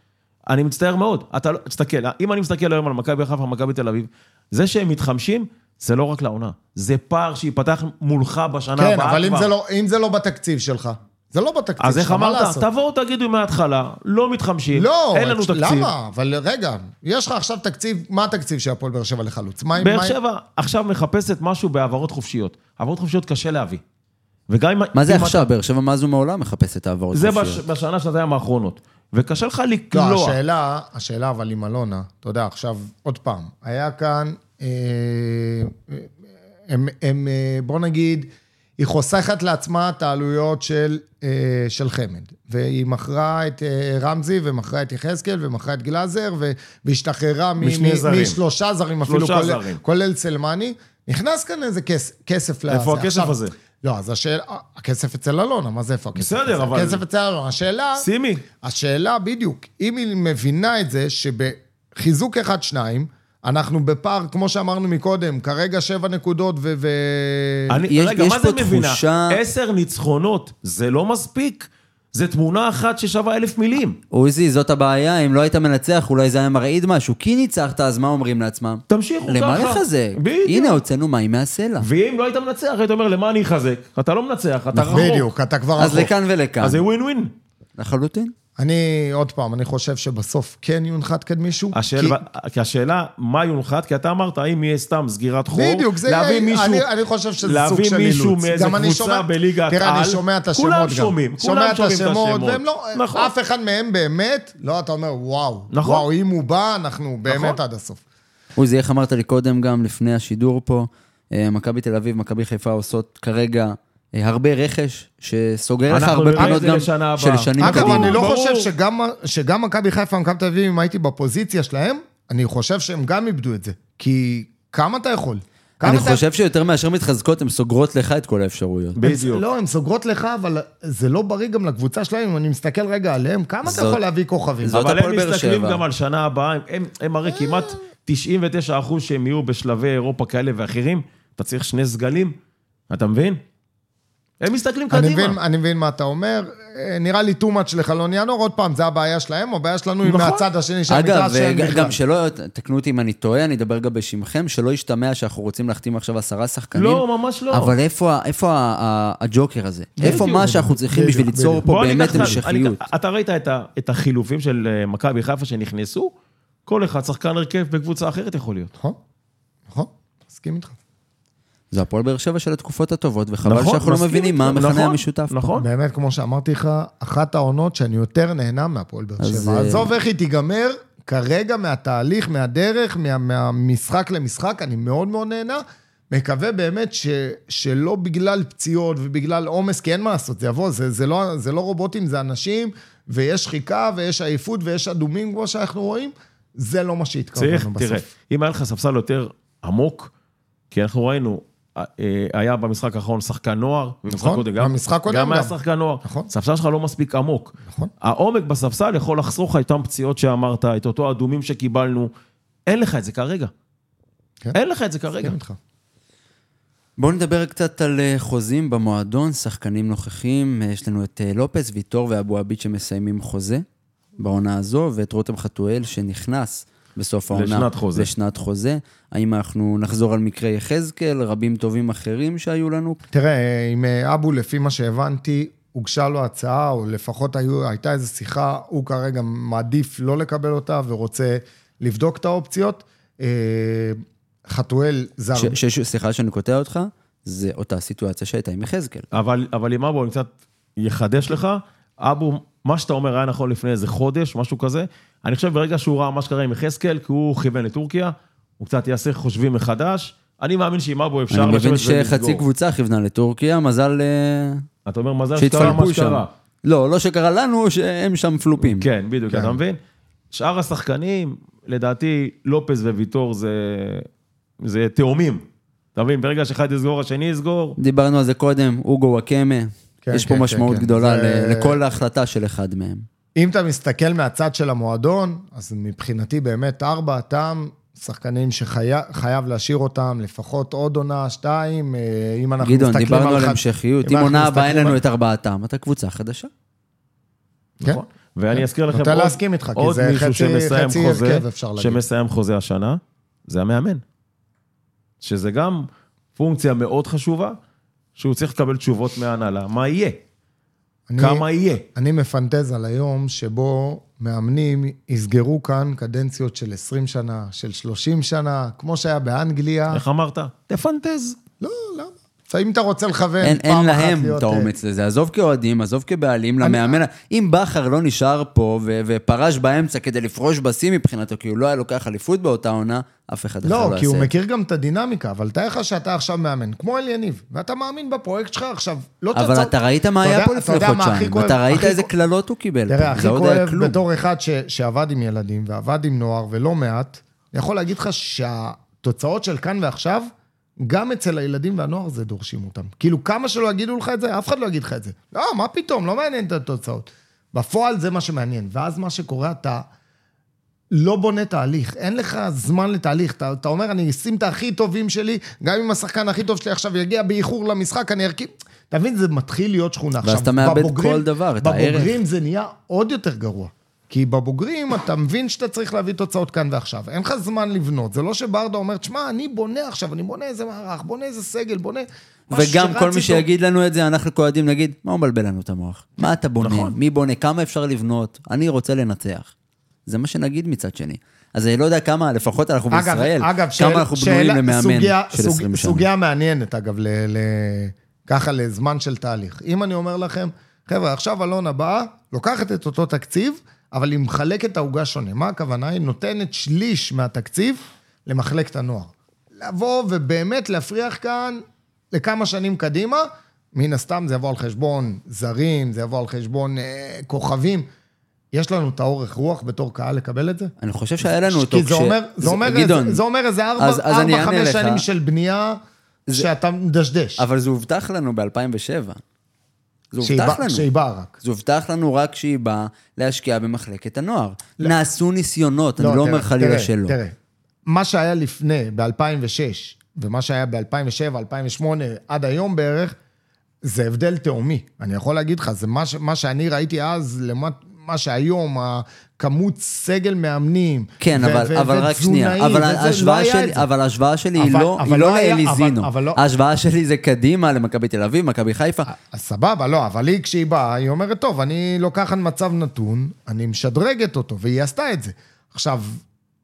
אני מצטער מאוד. אתה לא... תסתכל, אם אני מסתכל היום על מכבי חיפה ומכבי תל אביב, זה שהם מתחמשים, זה לא רק לעונה. זה פער שייפתח מולך בשנה כן, הבאה אבל אם כבר. זה, לא, אם זה לא בתקציב שלך, זה לא בתקציב אז שלך, איך מה אמרת? לעשות? תבואו תגידו מההתחלה, לא מתחמשים, לא, אין לנו את- תקציב. למה? אבל רגע, יש לך עכשיו תקציב, מה התקציב של הפועל באר שבע לחלוץ? מה, באר מה- שבע עכשיו מחפשת משהו בהעברות חופשיות. העברות חופשיות קשה להביא. וגם אם... מה זה אם עכשיו? באר שבע מאז ומעולם מחפשת העברות אתה- זה בש, חופשיות. בשנה, שנתיים האחרונות. וקשה לך לא, לקלוע. השאלה, השאלה אבל עם אלונה, אתה יודע, עכשיו, עוד פעם, היה כאן, אה, אה, הם, הם, אה, בוא נגיד, היא חוסכת לעצמה את העלויות של, אה, של חמד, והיא מכרה את אה, רמזי, ומכרה את יחזקאל, ומכרה את גלאזר, ו- והשתחררה מ- משני מ- זרים. משלושה זרים אפילו, שלושה כולל, זרים. כולל סלמני. נכנס כאן איזה כס, כסף לזה. איפה הכסף עכשיו- הזה? לא, אז השאלה, הכסף אצל אלונה, מה זה איפה הכסף? בסדר, הזה? אבל- הכסף אצל אלונה, השאלה... סימי. השאלה בדיוק, אם היא מבינה את זה שבחיזוק אחד-שניים, אנחנו בפער, כמו שאמרנו מקודם, כרגע שבע נקודות ו... ו... אני, יש- יש, רגע, יש מה פה זה מבינה? תחושה- עשר ניצחונות, זה לא מספיק. זה תמונה אחת ששווה אלף מילים. עוזי, זאת הבעיה, אם לא היית מנצח, אולי זה היה מרעיד משהו. כי ניצחת, אז מה אומרים לעצמם? תמשיכו למה ככה. לחזק? בדיוק. הנה, הוצאנו מים מהסלע. ואם לא היית מנצח, היית אומר, למה אני אחזק? אתה לא מנצח, אתה רחוק. נכון. בדיוק, כן. אתה כבר אז רחוק. לכאן ולכאן. אז זה ווין ווין. לחלוטין. אני, עוד פעם, אני חושב שבסוף כן יונחת כאן מישהו. השאלה, כי השאלה, מה יונחת? כי אתה אמרת, האם יהיה סתם סגירת חור? בדיוק, זה להביא יהיה- מישהו, אני- אני חושב שזה סוג של להביא מישהו אילוץ. מאיזה גם אני קבוצה שומע- בליגת על. תראה, אני שומע את השמות כולם גם. שומעים, שומע כולם את שומעים את השמות. השמות. והם לא, נכון. אף אחד מהם באמת, לא, אתה אומר, וואו. נכון. וואו, אם הוא בא, אנחנו באמת נכון. עד הסוף. עוזי, איך אמרת לי קודם גם, לפני השידור פה, אה, מכבי תל אביב, מכבי חיפה עושות כרגע אה, הרבה רכש שסוגר לך אנחנו הרבה נראה את פינות זה גם לשנה של הבאה. שנים אגב, קדימה. אני לא ברור. חושב שגם- שגם מכבי חיפה ומכבי תל אביב, אם הייתי בפוזיציה שלהם, אני חושב שהם גם איבדו את זה. כי כמה אתה יכול? כמה אני אתה- חושב שיותר מאשר מתחזקות, הן סוגרות לך את כל האפשרויות. הם- בדיוק. לא, הן סוגרות לך, אבל זה לא בריא גם לקבוצה שלהם, אם אני מסתכל רגע עליהם, כמה אתה זאת- יכול להביא כוכבים? זאת אבל הפועל הם באר מסתכלים שבע. גם על שנה הבאה, הם- הם- הם הרי כמעט 99 אחוז שהם יהיו בשלבי אירופה כאלה ואחרים, אתה צריך שני סגלים, אתה מבין? הם מסתכלים אני מבין, קדימה. אני מבין מה אתה אומר, אה, נראה לי too much לחלון ינואר, עוד פעם, זה הבעיה שלהם, הבעיה שלנו היא נכון. מהצד השני של אגב, המגרש שאין אה, בכלל. גם שלא, תקנו אותי אם אני טועה, אני אדבר גם בשמכם, שלא ישתמע שאנחנו רוצים להחתים עכשיו עשרה שחקנים. לא, ממש לא. אבל איפה ה- איפה ה- ה- הג'וקר הזה? איפה מה שאנחנו צריכים בדיוק, בשביל ליצור פה בוא אני באמת אקח לך- אני- המשכיות? אתה ראית את ה- את החילופים של אה, מכבי חיפה שנכנסו? כל אחד שחקן הרכב בקבוצה אחרת יכול להיות. נכון, נכון, מסכים איתך. זה הפועל באר שבע של התקופות הטובות, וחבל נכון, שאנחנו לא מסכים מבינים איתך. מה המכנה נכון, המשותף פה. נכון. באמת, כמו שאמרתי לך, אחת העונות שאני יותר נהנה מהפועל באר אז, שבע. אה, עזוב איך היא תיגמר, כרגע מהתהליך, מהדרך, מה, מהמשחק למשחק, אני מאוד מאוד נהנה. מקווה באמת ש, שלא בגלל פציעות ובגלל עומס, כי אין מה לעשות, זה יבוא, זה, זה, לא, זה לא רובוטים, זה אנשים, ויש שחיקה, ויש עייפות, ויש אדומים, כמו שאנחנו רואים. זה לא מה שהתקרבנו צריך, בסוף. תראה, אם היה לך ספסל יותר עמוק, כי אנחנו ראינו, אה, אה, היה במשחק האחרון שחקן נוער, ובמשחק נכון, קודם גם, במשחק קודם גם היה גם. שחקן נוער. נכון. ספסל שלך לא מספיק עמוק. נכון. העומק בספסל יכול לחסוך לך את אותן פציעות שאמרת, את אותו אדומים שקיבלנו. אין לך את זה כרגע. כן. אין לך את זה כרגע. מסכים איתך. בואו נדבר קצת על אה, חוזים במועדון, שחקנים נוכחים. אה, יש לנו את אה, לופס, ויטור ואבו עביד שמסיימים חוזה בעונה הזו, ואת רותם חתואל שנכנס בסוף העונה. לשנת חוזה. לשנת חוזה. האם אנחנו נחזור על מקרה יחזקאל, רבים טובים אחרים שהיו לנו? תראה, עם אה, אבו, לפי מה שהבנתי, הוגשה לו הצעה, או לפחות היו, הייתה איזו שיחה, הוא כרגע מעדיף לא לקבל אותה ורוצה לבדוק את האופציות. אה, חתואל זר, ש- ש- ש- סליחה שאני קוטע אותך, זה אותה סיטואציה שהייתה עם יחזקאל. אבל, אבל עם אבו אני קצת יחדש לך. אבו, מה שאתה אומר היה נכון לפני איזה חודש, משהו כזה. אני חושב ברגע שהוא ראה מה שקרה עם יחזקאל, כי הוא כיוון לטורקיה, הוא קצת יעשה חושבים מחדש. אני מאמין שעם אבו אפשר אני מבין לשבת שחצי קבוצה כיוונה לטורקיה, מזל אה, אתה אומר, מזל שקרה מה שהתפלפו שם. שקרה. לא, לא שקרה לנו, שהם שם פלופים. כן, בדיוק, כן. אתה מבין? שאר השחקנים, לדעתי, לופז וויטור זה, זה תאומים. אתה מבין? ברגע שאחד יסגור, השני יסגור. דיברנו על זה קודם, אוגו וואקמה. כן, יש פה כן, משמעות כן, כן. גדולה זה- ל- לכל החלטה של אחד מהם. אם אתה מסתכל מהצד של המועדון, אז מבחינתי באמת ארבע טעם, שחקנים שחייב להשאיר אותם, לפחות עוד עונה, שתיים, אה, אם אנחנו מסתכלים גדעון, על... דיברנו על אחד- המשכיות. אם אם אנחנו עונה הבאה אין מסתכלים לנו על- את ארבעתם, אתה קבוצה חדשה. כן. נכון? ואני אזכיר לכם נוטה עוד, להסכים איתך, כי עוד זה מישהו חצי- שמסיים חצי חוזה, הרכב, אפשר להגיד. שמסיים חוזה השנה, זה המאמן. שזה גם פונקציה מאוד חשובה, שהוא צריך לקבל תשובות מההנהלה. מה יהיה? אני- כמה יהיה? אני מפנטז על היום שבו מאמנים יסגרו כאן קדנציות של 20 שנה, של 30 שנה, כמו שהיה באנגליה. איך אמרת? תפנטז. לא, למה? עכשיו, אם אתה רוצה לכוון אין אין כן, פעם אחת להם להיות... אה, את האומץ לזה. עזוב כאוהדים, עזוב כבעלים, למאמן. אם בכר לא נשאר פה ו- ופרש באמצע כדי לפרוש בשיא מבחינתו, כי הוא לא היה לוקח אליפות באותה עונה, אף אחד אחר לא לא, יעשה. כי הוא את זה. מכיר גם את הדינמיקה, אבל תאר לך שאתה עכשיו מאמן, כמו אל יניב, ואתה מאמין בפרויקט שלך עכשיו, לא אבל אתה ראית מה אתה היה יודע- פה אתה לפני יודע מה הכי חודשיים, כואב? אתה ראית הכי איזה כואב- קללות הוא קיבל. תראה, פה, הכי זה עוד היה כואב לא כלום. בתור אחד ש, שעבד עם ילדים ועבד עם נוער ולא מעט, אני יכול להגיד לך שהתוצאות של כאן ועכשיו, גם אצל הילדים והנוער זה דורשים אותם. כאילו, כמה שלא יגידו לך את זה, אף אחד לא יגיד לך את זה. לא, מה פתאום, לא מעניין את התוצאות. בפועל זה מה שמעניין. ואז מה שקורה, אתה לא בונה תהליך, אין לך זמן לתהליך. אתה, אתה אומר, אני אשים את הכי טובים שלי, גם אם השחקן הכי טוב שלי עכשיו יגיע באיחור למשחק, אני ארכיב... אתה מבין, זה מתחיל להיות שכונה. ואז עכשיו, אתה מאבד בבוגרים- כל דבר, את הערך. בבוגרים זה נהיה עוד יותר גרוע. כי בבוגרים אתה מבין שאתה צריך להביא תוצאות כאן ועכשיו. אין לך זמן לבנות. זה לא שברדה אומר, תשמע, אני בונה עכשיו, אני בונה איזה מערך, בונה איזה סגל, בונה... משהו וגם שרץ כל מי איתו." שיגיד לנו את זה, אנחנו כאוהדים נגיד, מה הוא מבלבל לנו את המוח? מה אתה בונה? נכון. מי בונה? כמה אפשר לבנות? אני רוצה לנצח. זה מה שנגיד מצד שני. אז אני לא יודע כמה, לפחות אנחנו בישראל, כמה אנחנו בנויים למאמן של 20 שנה. סוגיה מעניינת, אגב, ל, ל, ככה לזמן של תהליך. אם אני אומר לכם, חבר'ה, עכשיו אלונה באה, לוקחת את אותו תקציב, אבל היא מחלקת את העוגה שונה. מה הכוונה? היא נותנת שליש מהתקציב למחלקת הנוער. לבוא ובאמת להפריח כאן לכמה שנים קדימה, מן הסתם זה יבוא על חשבון זרים, זה יבוא על חשבון אה, כוכבים. יש לנו את האורך רוח בתור קהל לקבל את זה? אני חושב שהיה לנו אותו כי זה אומר, זה אומר, גדעון, איזה, זה אומר איזה ארבע, אז- אז אני ארבע, אענה חמש לך. שנים של בנייה זה- שאתה מדשדש. אבל זה הובטח לנו ב-2007. זה שהיא הובטח בא- לנו. שהיא באה רק. זה הובטח לנו רק שהיא באה להשקיע במחלקת הנוער. נעשו ניסיונות, אני לא אומר לא. תראה, חלילה תראה, שלא. תראה, מה שהיה לפני, ב-2006, ומה שהיה ב-2007, 2008, עד היום בערך, זה הבדל תהומי. אני יכול להגיד לך, זה מה, ש- מה שאני ראיתי אז לעומת מה שהיום, הכמות סגל מאמנים. כן, ו- אבל, ו- אבל רק ותזונאי, שנייה, אבל וזה, לא ההשוואה היה שלי, את זה. אבל ההשוואה שלי היא אבל- לא, היא אבל לא לא היה- לאליזינו. אבל- אבל לא- אה, ההשוואה שלי זה קדימה למכבי תל אביב, מכבי חיפה. אז סבבה, לא, אבל היא כשהיא באה, היא אומרת, טוב, אני לוקחת מצב נתון, אני משדרגת אותו, והיא עשתה את זה. עכשיו,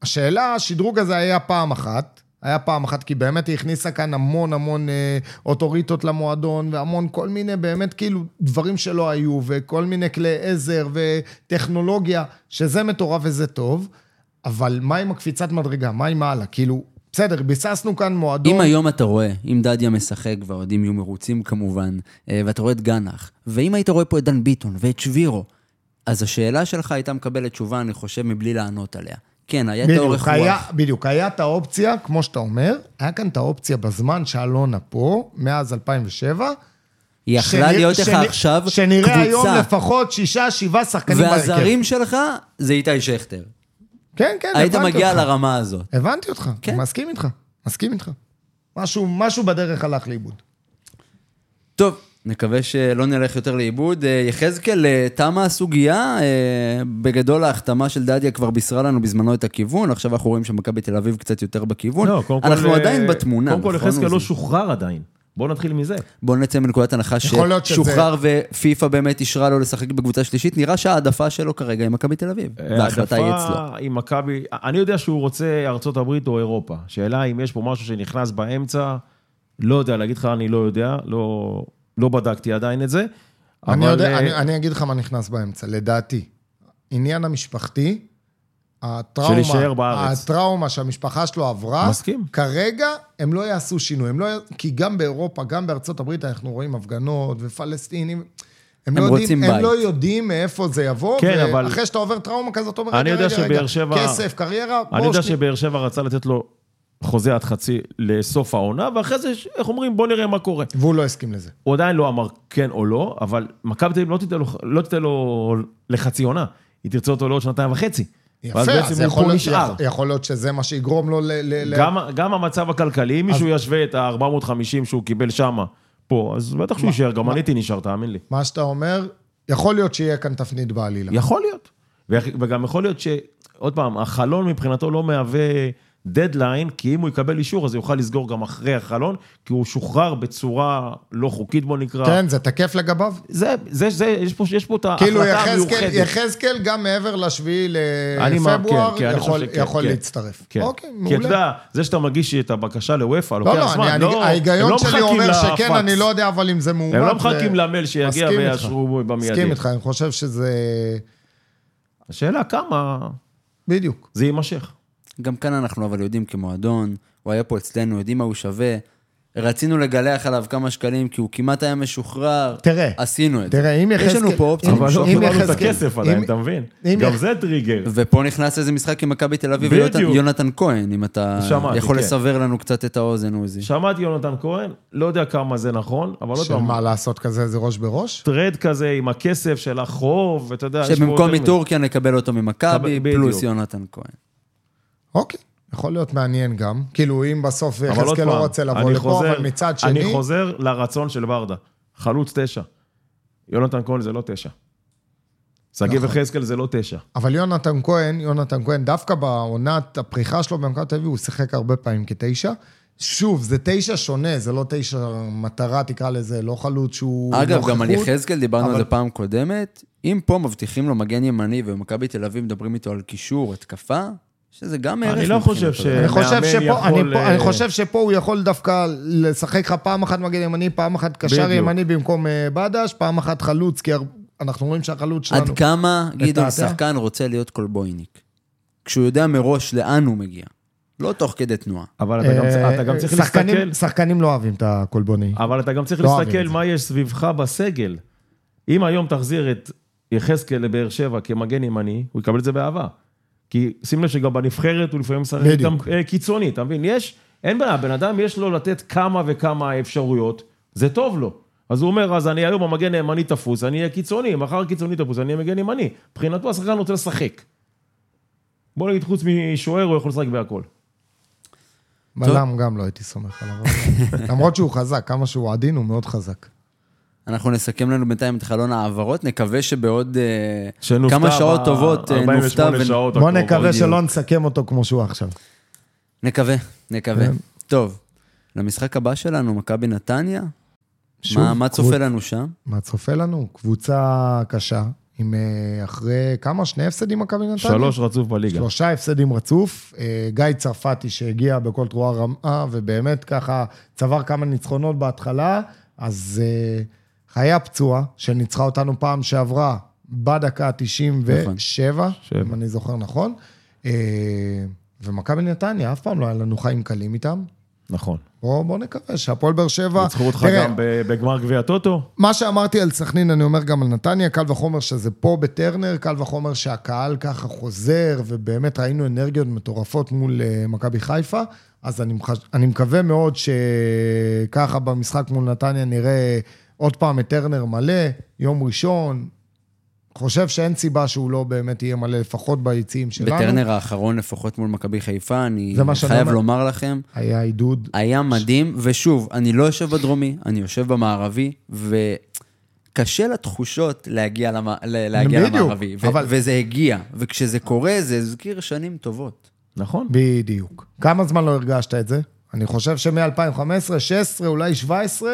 השאלה, השדרוג הזה היה פעם אחת, היה פעם אחת, כי באמת היא הכניסה כאן המון המון אה, אוטוריטות למועדון, והמון כל מיני, באמת כאילו, דברים שלא היו, וכל מיני כלי עזר, וטכנולוגיה, שזה מטורף וזה טוב, אבל מה עם הקפיצת מדרגה? מה עם הלאה? כאילו, בסדר, ביססנו כאן מועדון. אם היום אתה רואה, אם דדיה משחק והאוהדים יהיו מרוצים כמובן, אה, ואתה רואה את גנח, ואם היית רואה פה את דן ביטון ואת שבירו, אז השאלה שלך הייתה מקבלת תשובה, אני חושב, מבלי לענות עליה. כן, היה את האורך בדיוק, היה, רוח. בדיוק, היה את האופציה, כמו שאתה אומר, היה כאן את האופציה בזמן שאלונה פה, מאז 2007. היא יכלה שנ- להיות לך שנ- עכשיו שנראה היום קבוצה, לפחות שישה, שבעה שחקנים בהרכב. והזרים שלך זה איתי שכטר. כן, כן, היית הבנתי מגיע אותך. לרמה הזאת. הבנתי אותך, כן. מסכים איתך, מסכים איתך. משהו, משהו בדרך הלך לאיבוד. טוב, נקווה שלא נלך יותר לאיבוד. אה, יחזקאל, אה, תמה הסוגיה. אה, בגדול ההחתמה של דדיה כבר בישרה לנו בזמנו את הכיוון, עכשיו אנחנו רואים שמכבי תל אביב קצת יותר בכיוון. לא, קודם כל... אנחנו אה, עדיין בתמונה, קודם כל, נכון, יחזקאל לא עוזי? שוחרר עדיין. בואו נתחיל מזה. בואו נצא מנקודת הנחה יכול להיות שזה- ששוחרר ופיפ"א באמת אישרה לו לשחק בקבוצה שלישית, נראה שההעדפה שלו כרגע היא מכבי תל אביב. וההחלטה היא אצלו. אה, העדפה עם מכבי, אני יודע שהוא רוצה ארצות הברית או אירופה. שאלה אם יש פה משהו שנכנס באמצע, לא יודע, להגיד לך אני לא יודע, לא, לא בדקתי עדיין את זה. אני, אבל, יודע, אה, אני, אני אגיד לך מה נכנס באמצע, לדעתי. עניין המשפחתי, הטראומה, להישאר בארץ. הטראומה שהמשפחה שלו עברה, מסכים. כרגע הם לא יעשו שינוי, הם לא, י- כי גם באירופה, גם בארצות הברית אנחנו רואים הפגנות ופלסטינים. הם, הם לא רוצים יודעים, הם בית. לא יודעים מאיפה זה יבוא, כן, אבל- ואחרי שאתה עובר טראומה כזאת, אתה אומר, אני רגע, יודע רגע, שבאר רגע, שבע- כסף, קריירה, אני בוא יודע שנייה. שבאר שבע רצה לתת לו חוזה עד חצי לסוף העונה, ואחרי זה, איך אומרים, בוא נראה מה קורה. והוא לא הסכים לזה. הוא עדיין לא אמר כן או לא, אבל מכבי תל אביב לא תיתן לו, לא תיתן לו לחצי עונה. היא תרצה אותו לעוד שנתיים וחצי. יפה, ואז בעצם אז הוא יכול פה להיות- נשאר. יכול להיות שזה מה שיגרום לו ל... ל- ל- גם, גם המצב הכלכלי, אם מישהו ישווה את ה-450 שהוא קיבל שמה, פה, אז בטח שהוא יישאר, גם אני הייתי נשאר, תאמין לי. מה שאתה אומר, יכול להיות שיהיה כאן תפנית בעלילה. יכול להיות. ו- וגם יכול להיות ש... עוד פעם, החלון מבחינתו לא מהווה דדליין, כי אם הוא יקבל אישור, אז הוא יוכל לסגור גם אחרי החלון, כי הוא שוחרר בצורה לא חוקית, בוא נקרא. כן, זה תקף לגביו? זה, זה, זה, יש פה, יש פה את כאילו ההחלטה יחזקאל, המיוחדת. יחזקאל גם מעבר לשביעי אני מאמין, לפברואר, כן, כן, אני יכול- חושב שכן, יכול כן. להצטרף. כן. אוקיי, כי אתה מעולה. יודע, זה שאתה מגיש את הבקשה לוופא, לא, לוקח לא, זמן, אני- לא... אני- הם לא ההיגיון שלי מחכים אומר שכן, לפקס. אני לא יודע, אבל אם זה מאומת... הם לא ו- מחכים למייל שיגיע מסכים ויאשרו איתך. במיידי. מסכים איתך, אני חושב שזה... השאלה כמה בדיוק. זה יימשך. גם כאן אנחנו אבל יודעים כמועדון, הוא היה פה אצלנו, יודעים מה הוא שווה. רצינו לגלח עליו כמה שקלים, כי הוא כמעט היה משוחרר. תראה, עשינו את זה. תראה, אם יש לנו יחזקאל- פה אופציה. אם- אבל לא אם קיבלנו את יחזקאל- הכסף עדיין, אם- אתה מבין? אם גם יח- זה טריגר. ופה נכנס איזה משחק עם מכבי תל אביב, ויונתן- בדיוק. יונתן כהן, אם אתה שמעתי, יכול כן. לסבר לנו קצת את האוזן, עוזי. שמעתי יונתן כהן, לא יודע כמה זה נכון, אבל עוד של פעם, לא מה לעשות כזה, זה ראש בראש? טרד כזה עם הכסף של החוב, ואתה יודע, יש פה שבמקום יותר מדי. מטורקיה נקבל אותו ממכבי, בדיוק. פלוס יונתן כהן. אוקיי. יכול להיות מעניין גם. כאילו, אם בסוף אבל עוד יחזקאל פעם, לא רוצה לבוא אני לפה, חוזר- אבל מצד אני שני... חוזר לרצון של ברדה, חלוץ תשע. יונתן כהן זה לא תשע. שגיב נכון. יחזקאל זה לא תשע. אבל יונתן כהן, יונתן כהן, דווקא בעונת הפריחה שלו במכבי תל אביב, הוא שיחק הרבה פעמים כתשע. שוב, זה תשע שונה, זה לא תשע מטרה, תקרא לזה, לא חלוץ שהוא... אגב, גם נוכחות. על יחזקאל דיברנו על אבל- זה פעם קודמת. אם פה מבטיחים לו מגן ימני ובמכבי תל אביב מדברים איתו על קישור, התקפה, שזה גם ערך לא חושב מבחינתו. ש- אני חושב, מאמן שפה, יכול, אני, פה, אה, אני חושב שפה הוא יכול דווקא לשחק לך פעם אחת מגן ימני, פעם אחת קשר בדיוק. ימני במקום אה, בדש, פעם אחת חלוץ, כי הר- אנחנו רואים שהחלוץ שלנו... עד כמה גדעון אתה- שחקן רוצה להיות קולבויניק? כשהוא יודע מראש לאן הוא מגיע. לא תוך כדי תנועה. אבל אתה גם צ- אה, אתה גם צריך שחקנים- להסתכל, שחקנים לא אוהבים את הקולבוני. אה, אבל אתה גם צריך לא אוהבים להסתכל את זה. מה יש סביבך בסגל. אם היום תחזיר את יחזקאל לבאר שבע כמגן ימני, הוא יקבל את זה באהבה. כי שים לב שגם בנבחרת הוא לפעמים משחק איתם בדיוק. אה, קיצוני, אתה מבין? יש, אין בעיה, בן אדם יש לו לתת כמה וכמה אפשרויות, זה טוב לו. אז הוא אומר, אז אני היום המגן הימני תפוס, אני אהיה קיצוני, מחר קיצוני תפוס, אני אהיה מגן ימני. מבחינתו השחקן רוצה לשחק. בוא נגיד, חוץ משוער, הוא יכול לשחק בהכל. בלם גם לא הייתי סומך עליו. אבל- למרות שהוא חזק, כמה שהוא עדין, הוא מאוד חזק. אנחנו נסכם לנו בינתיים את חלון ההעברות, נקווה שבעוד אה, שנופתע כמה שעות ב- טובות אה, 48 ונ- שעות בוא הקרובות. נקווה שלא נסכם אותו כמו שהוא עכשיו. נקווה, נקווה. כן. טוב, למשחק הבא שלנו, מכבי נתניה, שוב, מה, מה צופה קבוצ- לנו שם? מה צופה לנו? קבוצה קשה, עם אה, אחרי כמה? שני הפסדים מכבי נתניה? שלוש רצוף בליגה. שלושה הפסדים רצוף. אה, גיא צרפתי שהגיע בכל תרועה רמה, ובאמת ככה צבר כמה ניצחונות בהתחלה, אז אה, חיה פצועה, שניצחה אותנו פעם שעברה בדקה ה-97, נכון. שבע. אם אני זוכר נכון. אה, ומכבי נתניה, אף פעם לא היה לנו חיים קלים איתם. נכון. בואו בוא נקווה שהפועל באר שבע... ניצחו אותך תראה, גם ב- בגמר גביע הטוטו? מה שאמרתי על סכנין, אני אומר גם על נתניה, קל וחומר שזה פה בטרנר, קל וחומר שהקהל ככה חוזר, ובאמת ראינו אנרגיות מטורפות מול אה, מכבי חיפה, אז אני, מחש... אני מקווה מאוד שככה במשחק מול נתניה נראה עוד פעם את טרנר מלא, יום ראשון. חושב שאין סיבה שהוא לא באמת יהיה מלא, לפחות ביציעים שלנו. בטרנר האחרון, לפחות מול מכבי חיפה, אני זה מה שאני חייב אומר. לומר לכם, היה עידוד. היה מדהים, ושוב, אני לא יושב בדרומי, אני יושב במערבי, וקשה לתחושות להגיע, למע... ל- להגיע בדיוק, למערבי, ו... אבל- וזה הגיע, וכשזה קורה, זה הזכיר שנים טובות. נכון. בדיוק. כמה זמן לא הרגשת את זה? אני חושב שמ-2015, 16, אולי 17,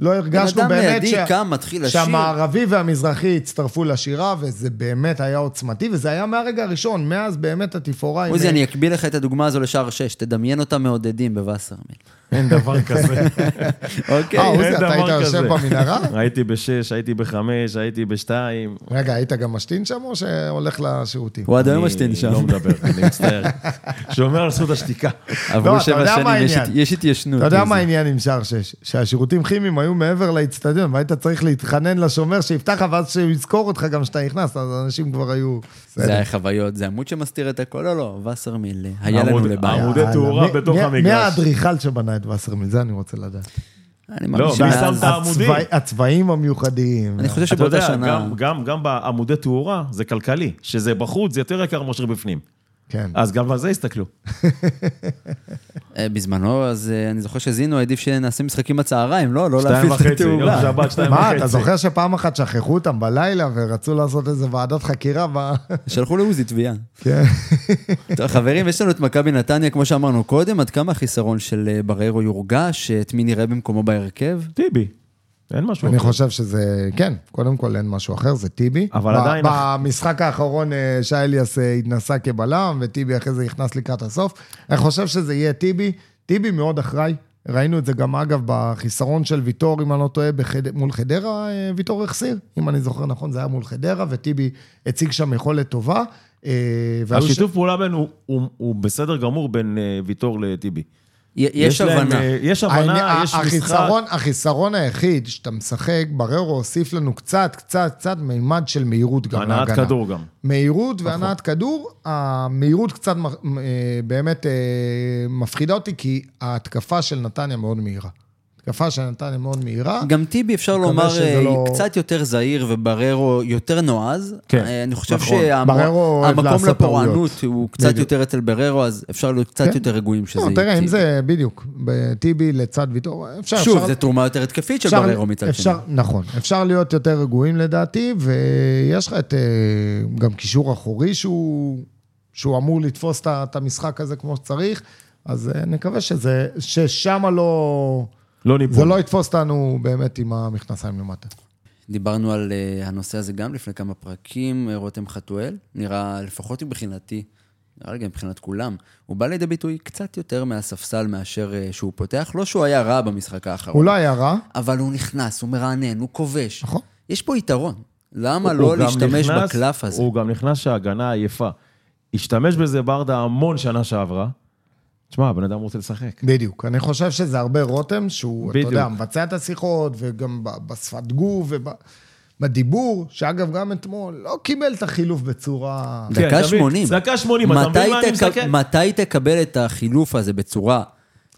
לא הרגשנו אדם באמת לידי קם, מתחיל לשיר. שהמערבי והמזרחי הצטרפו לשירה, וזה באמת היה עוצמתי, וזה היה מהרגע הראשון, מאז באמת התפאורה. עם- עוזי, אני אקביל לך את הדוגמה הזו לשער 6, תדמיין אותה מעודדים בווסרמיל. אין דבר כזה. אוקיי. אה, עוזי, אין אתה היית דבר יושב כזה. במנהרה? הייתי בשש, הייתי בחמש, הייתי בשתיים. רגע, היית גם משתין שם, או שהולך לשירותים? הוא עד היום אני משתין שם. לא מדבר, אני מצטער. שומר על זכות השתיקה. לא, עברו אתה שבע יודע מה שנים, יש העניין. הת- יש התיישנות. אתה יודע עוזי. מה העניין עם שער 6? שהשירותים כימיים היו מעבר לאצטדיון, והיית צריך להתחנן לשומר שיפתח לך, ואז שהוא יזכור אותך גם כשאתה נכנס, אז אנשים כבר היו... זה היה חוויות, זה עמוד שמסתיר את הכל, לא, לא, וסרמיל, היה לנו עמוד- לבעיה. עמוד- עמודי יאללה, תאורה מי- בתוך מי- מי המגרש. האדריכל שבנה את וסרמיל? זה אני רוצה לדעת. אני לא, מרגיש מי שמאז- שם את ה- העמודים. הצבע- הצבעים המיוחדים. אני חושב אתה שבאותה יודע, שנה... גם- גם- גם בעמודי תאורה זה כלכלי. שזה בחוץ זה יותר יקר מאשר בפנים. כן. אז גם על זה הסתכלו. אה, בזמנו, אז אה, אני זוכר שזינו העדיף שנעשה משחקים בצהריים, לא? לא שתיים להפעיל את וחצי, יום התאורה. שבת, שתיים וחצי. מה, אתה זוכר שפעם אחת שכחו אותם בלילה ורצו לעשות איזה ועדת חקירה ב... שלחו לעוזי תביעה. כן. טוב, חברים, יש לנו את מכבי נתניה, כמו שאמרנו קודם, עד כמה החיסרון של אה, בריירו יורגש, את מי נראה במקומו בהרכב? טיבי. אין משהו. אני אחר. חושב שזה, כן, קודם כל אין משהו אחר, זה טיבי. אבל ב- עדיין- במשחק האחרון אה, שי אליאס אה, התנסה כבלם, וטיבי אחרי זה נכנס לקראת הסוף. אני חושב שזה יהיה טיבי. טיבי מאוד אחראי. ראינו את זה גם, אגב, בחיסרון של ויטור, אם אני לא טועה, בחד... מול חדרה, אה, ויטור החסיר, אם אני זוכר נכון, זה היה מול חדרה, וטיבי הציג שם יכולת טובה. אה, והיו ש- השיתוף פעולה בין, הוא- הוא הוא בסדר גמור בין אה, ויטור לטיבי. י- יש להם, הבנה. אה, יש העני- הבנה, יש משחק. החיסרון, החיסרון היחיד שאתה משחק, בררו הוסיף לנו קצת, קצת, קצת מימד של מהירות גם להגנה. הנעת כדור גם. נכון. מהירות והנעת כדור, המהירות קצת מ- אה, באמת אה, מפחידה אותי, כי ההתקפה של נתניה מאוד מהירה. התקפה של נתניה מאוד מהירה. גם טיבי, אפשר מקווה לומר, שזה אה, לא- קצת יותר זהיר ובררו יותר נועז. כן, אה, אני חושב נכון. בררו אוהב שהמקום לעשות לפורענות טעויות. הוא קצת בדיוק. יותר אצל בררו, אז אפשר להיות קצת כן. יותר רגועים שזה לא, יהיה תראה, אם טיבי. זה בדיוק, ב- טיבי לצד ויטור, אפשר... שוב, אפשר- זו תרומה יותר התקפית של אפשר- בררו מצד שני. אפשר, נכון. אפשר להיות יותר רגועים לדעתי, ויש לך את אה, גם קישור אחורי שהוא, שהוא אמור לתפוס את ה- את המשחק הזה כמו שצריך, אז אה, נקווה שזה, ששם לא... לא זה ניפול. לא יתפוס אותנו באמת עם המכנסיים למטה. דיברנו על אה, הנושא הזה גם לפני כמה פרקים, אה, רותם חתואל, נראה, לפחות מבחינתי, נראה לי גם מבחינת כולם, הוא בא לידי ביטוי קצת יותר מהספסל מאשר אה, שהוא פותח, לא שהוא היה רע במשחק האחרון, הוא לא היה רע, אבל הוא נכנס, הוא מרענן, הוא כובש. נכון. יש פה יתרון. למה הוא לא גם להשתמש נכנס- בקלף הזה? הוא גם נכנס שההגנה עייפה. השתמש בזה ברדה המון שנה שעברה, תשמע, הבן אדם רוצה לשחק. בדיוק. אני חושב שזה הרבה רותם, שהוא, אתה יודע, בדיוק. מבצע את השיחות, וגם ב- בשפת גוף ובדיבור, שאגב, גם אתמול לא קיבל את החילוף בצורה... כן, אתה דקה מבין? 80. דקה 80, אתה מתי מבין מה אני תק- מסתכל? מתי תקבל את החילוף הזה בצורה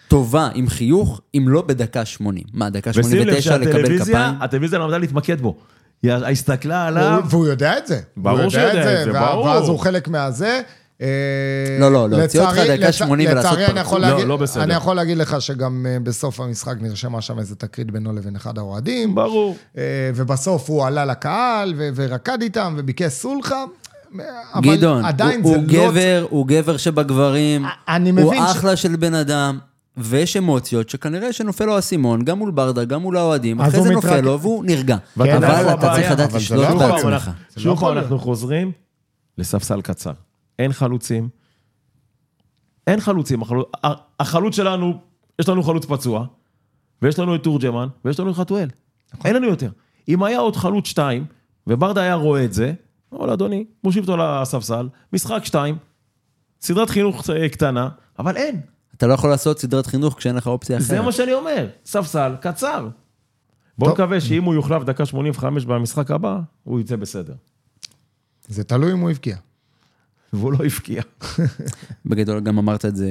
טובה, עם חיוך, אם לא בדקה 80? מה, דקה ושים לב 89 לקבל שהטלוויזיה, כפיים? הטלוויזיה למדה להתמקד בו. היא הסתכלה עליו, והוא- והוא יודע את זה. הוא ברור שהוא יודע את זה, וה- ברור. ואז הוא חלק מהזה. אה, לא, לא, לא, הוציאו אותך לצערי- דקה לצ- 80 ולעשות לצערי, אני פרצוף. יכול לא, להגיד- לא בסדר. אני יכול להגיד לך שגם אה, בסוף המשחק נרשמה שם איזה תקרית בינו לבין אחד האוהדים. ברור. אה, ובסוף הוא עלה לקהל ו- ורקד איתם וביקש סולחה. אה, אבל גדעון, עדיין הוא, זה הוא לא... אה, גבר, הוא גבר שבגברים, אני הוא מבין ש- אחלה של בן אדם, ויש אמוציות שכנראה שנופל לו האסימון, גם מול ברדה, גם מול האוהדים, אז אחרי הוא זה נופל מתרק- לו והוא נרגע. ואתה אנחנו אבל אתה הבעיה, צריך לדעת אבל זה לשלוט לא שוב פעם יכול בעצמך. אנחנו- שוב יכול פעם להיות. אנחנו חוזרים לספסל קצר. אין חלוצים, אין חלוצים. החלו- ה- החלוץ שלנו, יש לנו חלוץ פצוע, ויש לנו את תורג'מן, ויש לנו את חתואל. אין לנו יותר. אם היה עוד חלוץ שתיים, וברדה היה רואה את זה, אבל אדוני, מושיב אותו לספסל, משחק שתיים, סדרת חינוך אה, קטנה, אבל אין. אתה לא יכול לעשות סדרת חינוך כשאין לך אופציה אחרת. זה מה שאני אומר, ספסל קצר. בואו טוב. נקווה שאם הוא יוחלף דקה 85 במשחק הבא, הוא יצא בסדר. זה תלוי אם הוא הבקיע. והוא לא הבקיע. בגדול גם אמרת את זה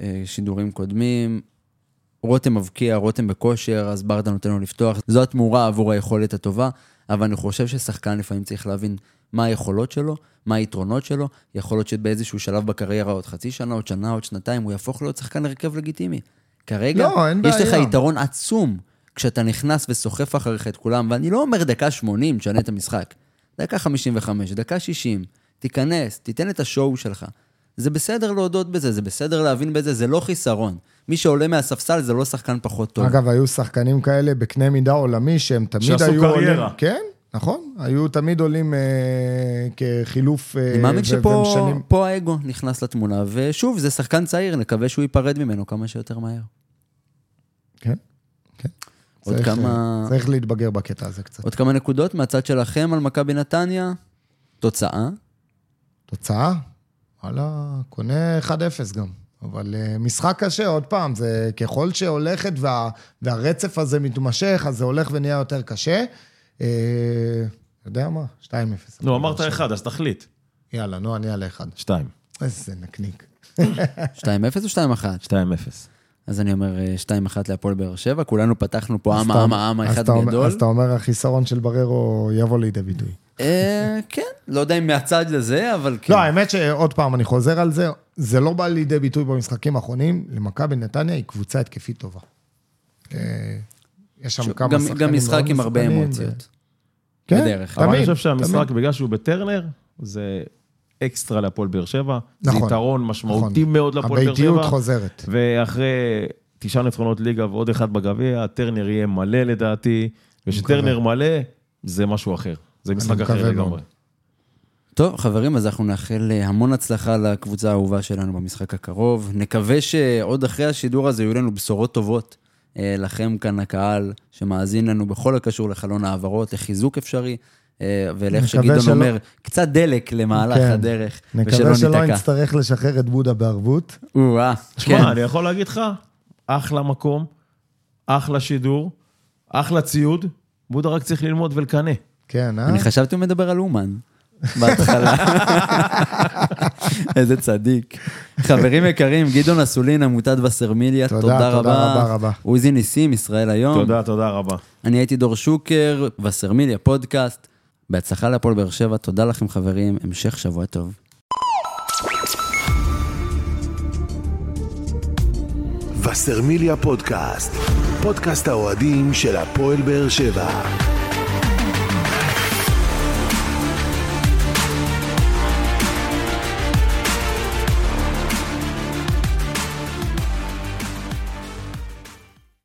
אה, שידורים קודמים. רותם מבקיע, רותם בכושר, אז ברדה נותן לו לפתוח. זו התמורה עבור היכולת הטובה, אבל אני חושב ששחקן לפעמים צריך להבין מה היכולות שלו, מה היתרונות שלו. יכול להיות שבאיזשהו שלב בקריירה, עוד חצי שנה, עוד שנה, עוד שנתיים, הוא יהפוך להיות שחקן הרכב לגיטימי. כרגע, לא, אין יש בעיה. לך יתרון עצום כשאתה נכנס וסוחף אחריך את כולם, ואני לא אומר דקה 80, תשנה את המשחק. דקה 55, דקה 60, תיכנס, תיתן את השואו שלך. זה בסדר להודות בזה, זה בסדר להבין בזה, זה לא חיסרון. מי שעולה מהספסל זה לא שחקן פחות טוב. אגב, היו שחקנים כאלה בקנה מידה עולמי שהם תמיד שעשו היו קריירה. עולים- כן, נכון. היו תמיד עולים אה, כחילוף... אה, אני מאמין ו- שפה ומשנים- פה האגו נכנס לתמונה, ושוב, זה שחקן צעיר, נקווה שהוא ייפרד ממנו כמה שיותר מהר. כן, כן. עוד צריך, כמה- אה, צריך להתבגר בקטע הזה קצת. עוד כמה נקודות מהצד שלכם על מכבי נתניה, תוצאה, תוצאה? וואלה, קונה 1-0 גם. אבל אה, משחק קשה, עוד פעם, זה ככל שהולכת וה, והרצף הזה מתמשך, אז זה הולך ונהיה יותר קשה. אה, יודע מה? 2-0. נו, אמרת אחד, אז תחליט. יאללה, נו, אני על אחד. שתיים. איזה נקניק. 2-0 או 2-1? שתיים אפס. אז אני אומר אה, 2-1 להפועל באר שבע, כולנו פתחנו פה אז עם אתה- עם עם אז אחד אתה אומר- גדול. אז אתה אומר, החיסרון של בררו יבוא לידי ביטוי. אה, כן, לא יודע אם מהצד לזה, אבל כן. לא, האמת שעוד פעם, אני חוזר על זה, זה לא בא לידי ביטוי במשחקים האחרונים, למכבי נתניה היא קבוצה התקפית טובה. אה, יש שם כמה גם- שחקנים גם משחק מאוד עם הרבה מסוכנים, ו- אמוציות. כן, בדרך כלל. אבל אני תמיד, חושב שהמשחק, תמיד. בגלל שהוא בטרנר, זה אקסטרה להפועל באר שבע. זה נכון. יתרון משמעותי נכון. מאוד להפועל באר שבע. הביתיות חוזרת. ואחרי תשעה ניצחונות ליגה ועוד אחד בגביע, הטרנר יהיה מלא לדעתי, וכשטרנר מלא, זה משהו אחר. זה משחק מקווה אחר מאוד. כן. לגמרי. אה. טוב, חברים, אז אנחנו נאחל אה, המון הצלחה לקבוצה האהובה שלנו במשחק הקרוב. נקווה שעוד אחרי השידור הזה יהיו לנו בשורות טובות אה, לכם כאן, הקהל, שמאזין לנו בכל הקשור לחלון העברות, לחיזוק אפשרי, אה, ולאיך נקווה שגדעון שלא- אומר, קצת דלק למהלך כן. הדרך, ושלא נקווה שלא ניתקע. נצטרך לשחרר את בודה בערבות. או-אה, כן. תשמע, אני יכול להגיד לך, אחלה מקום, אחלה שידור, אחלה ציוד, בודה רק צריך ללמוד ולקנא. כן, אה? אני חשבתי הוא מדבר על אומן בהתחלה. איזה צדיק. חברים יקרים, גדעון אסולין, עמותת וסרמיליה, תודה, תודה תודה רבה. רבה, רבה. עוזי ניסים, ישראל היום. תודה, תודה רבה. אני הייתי דור שוקר, וסרמיליה פודקאסט. בהצלחה להפועל באר שבע, תודה לכם חברים, המשך שבוע טוב. וסרמיליה פודקאסט, פודקאסט האוהדים של הפועל באר שבע.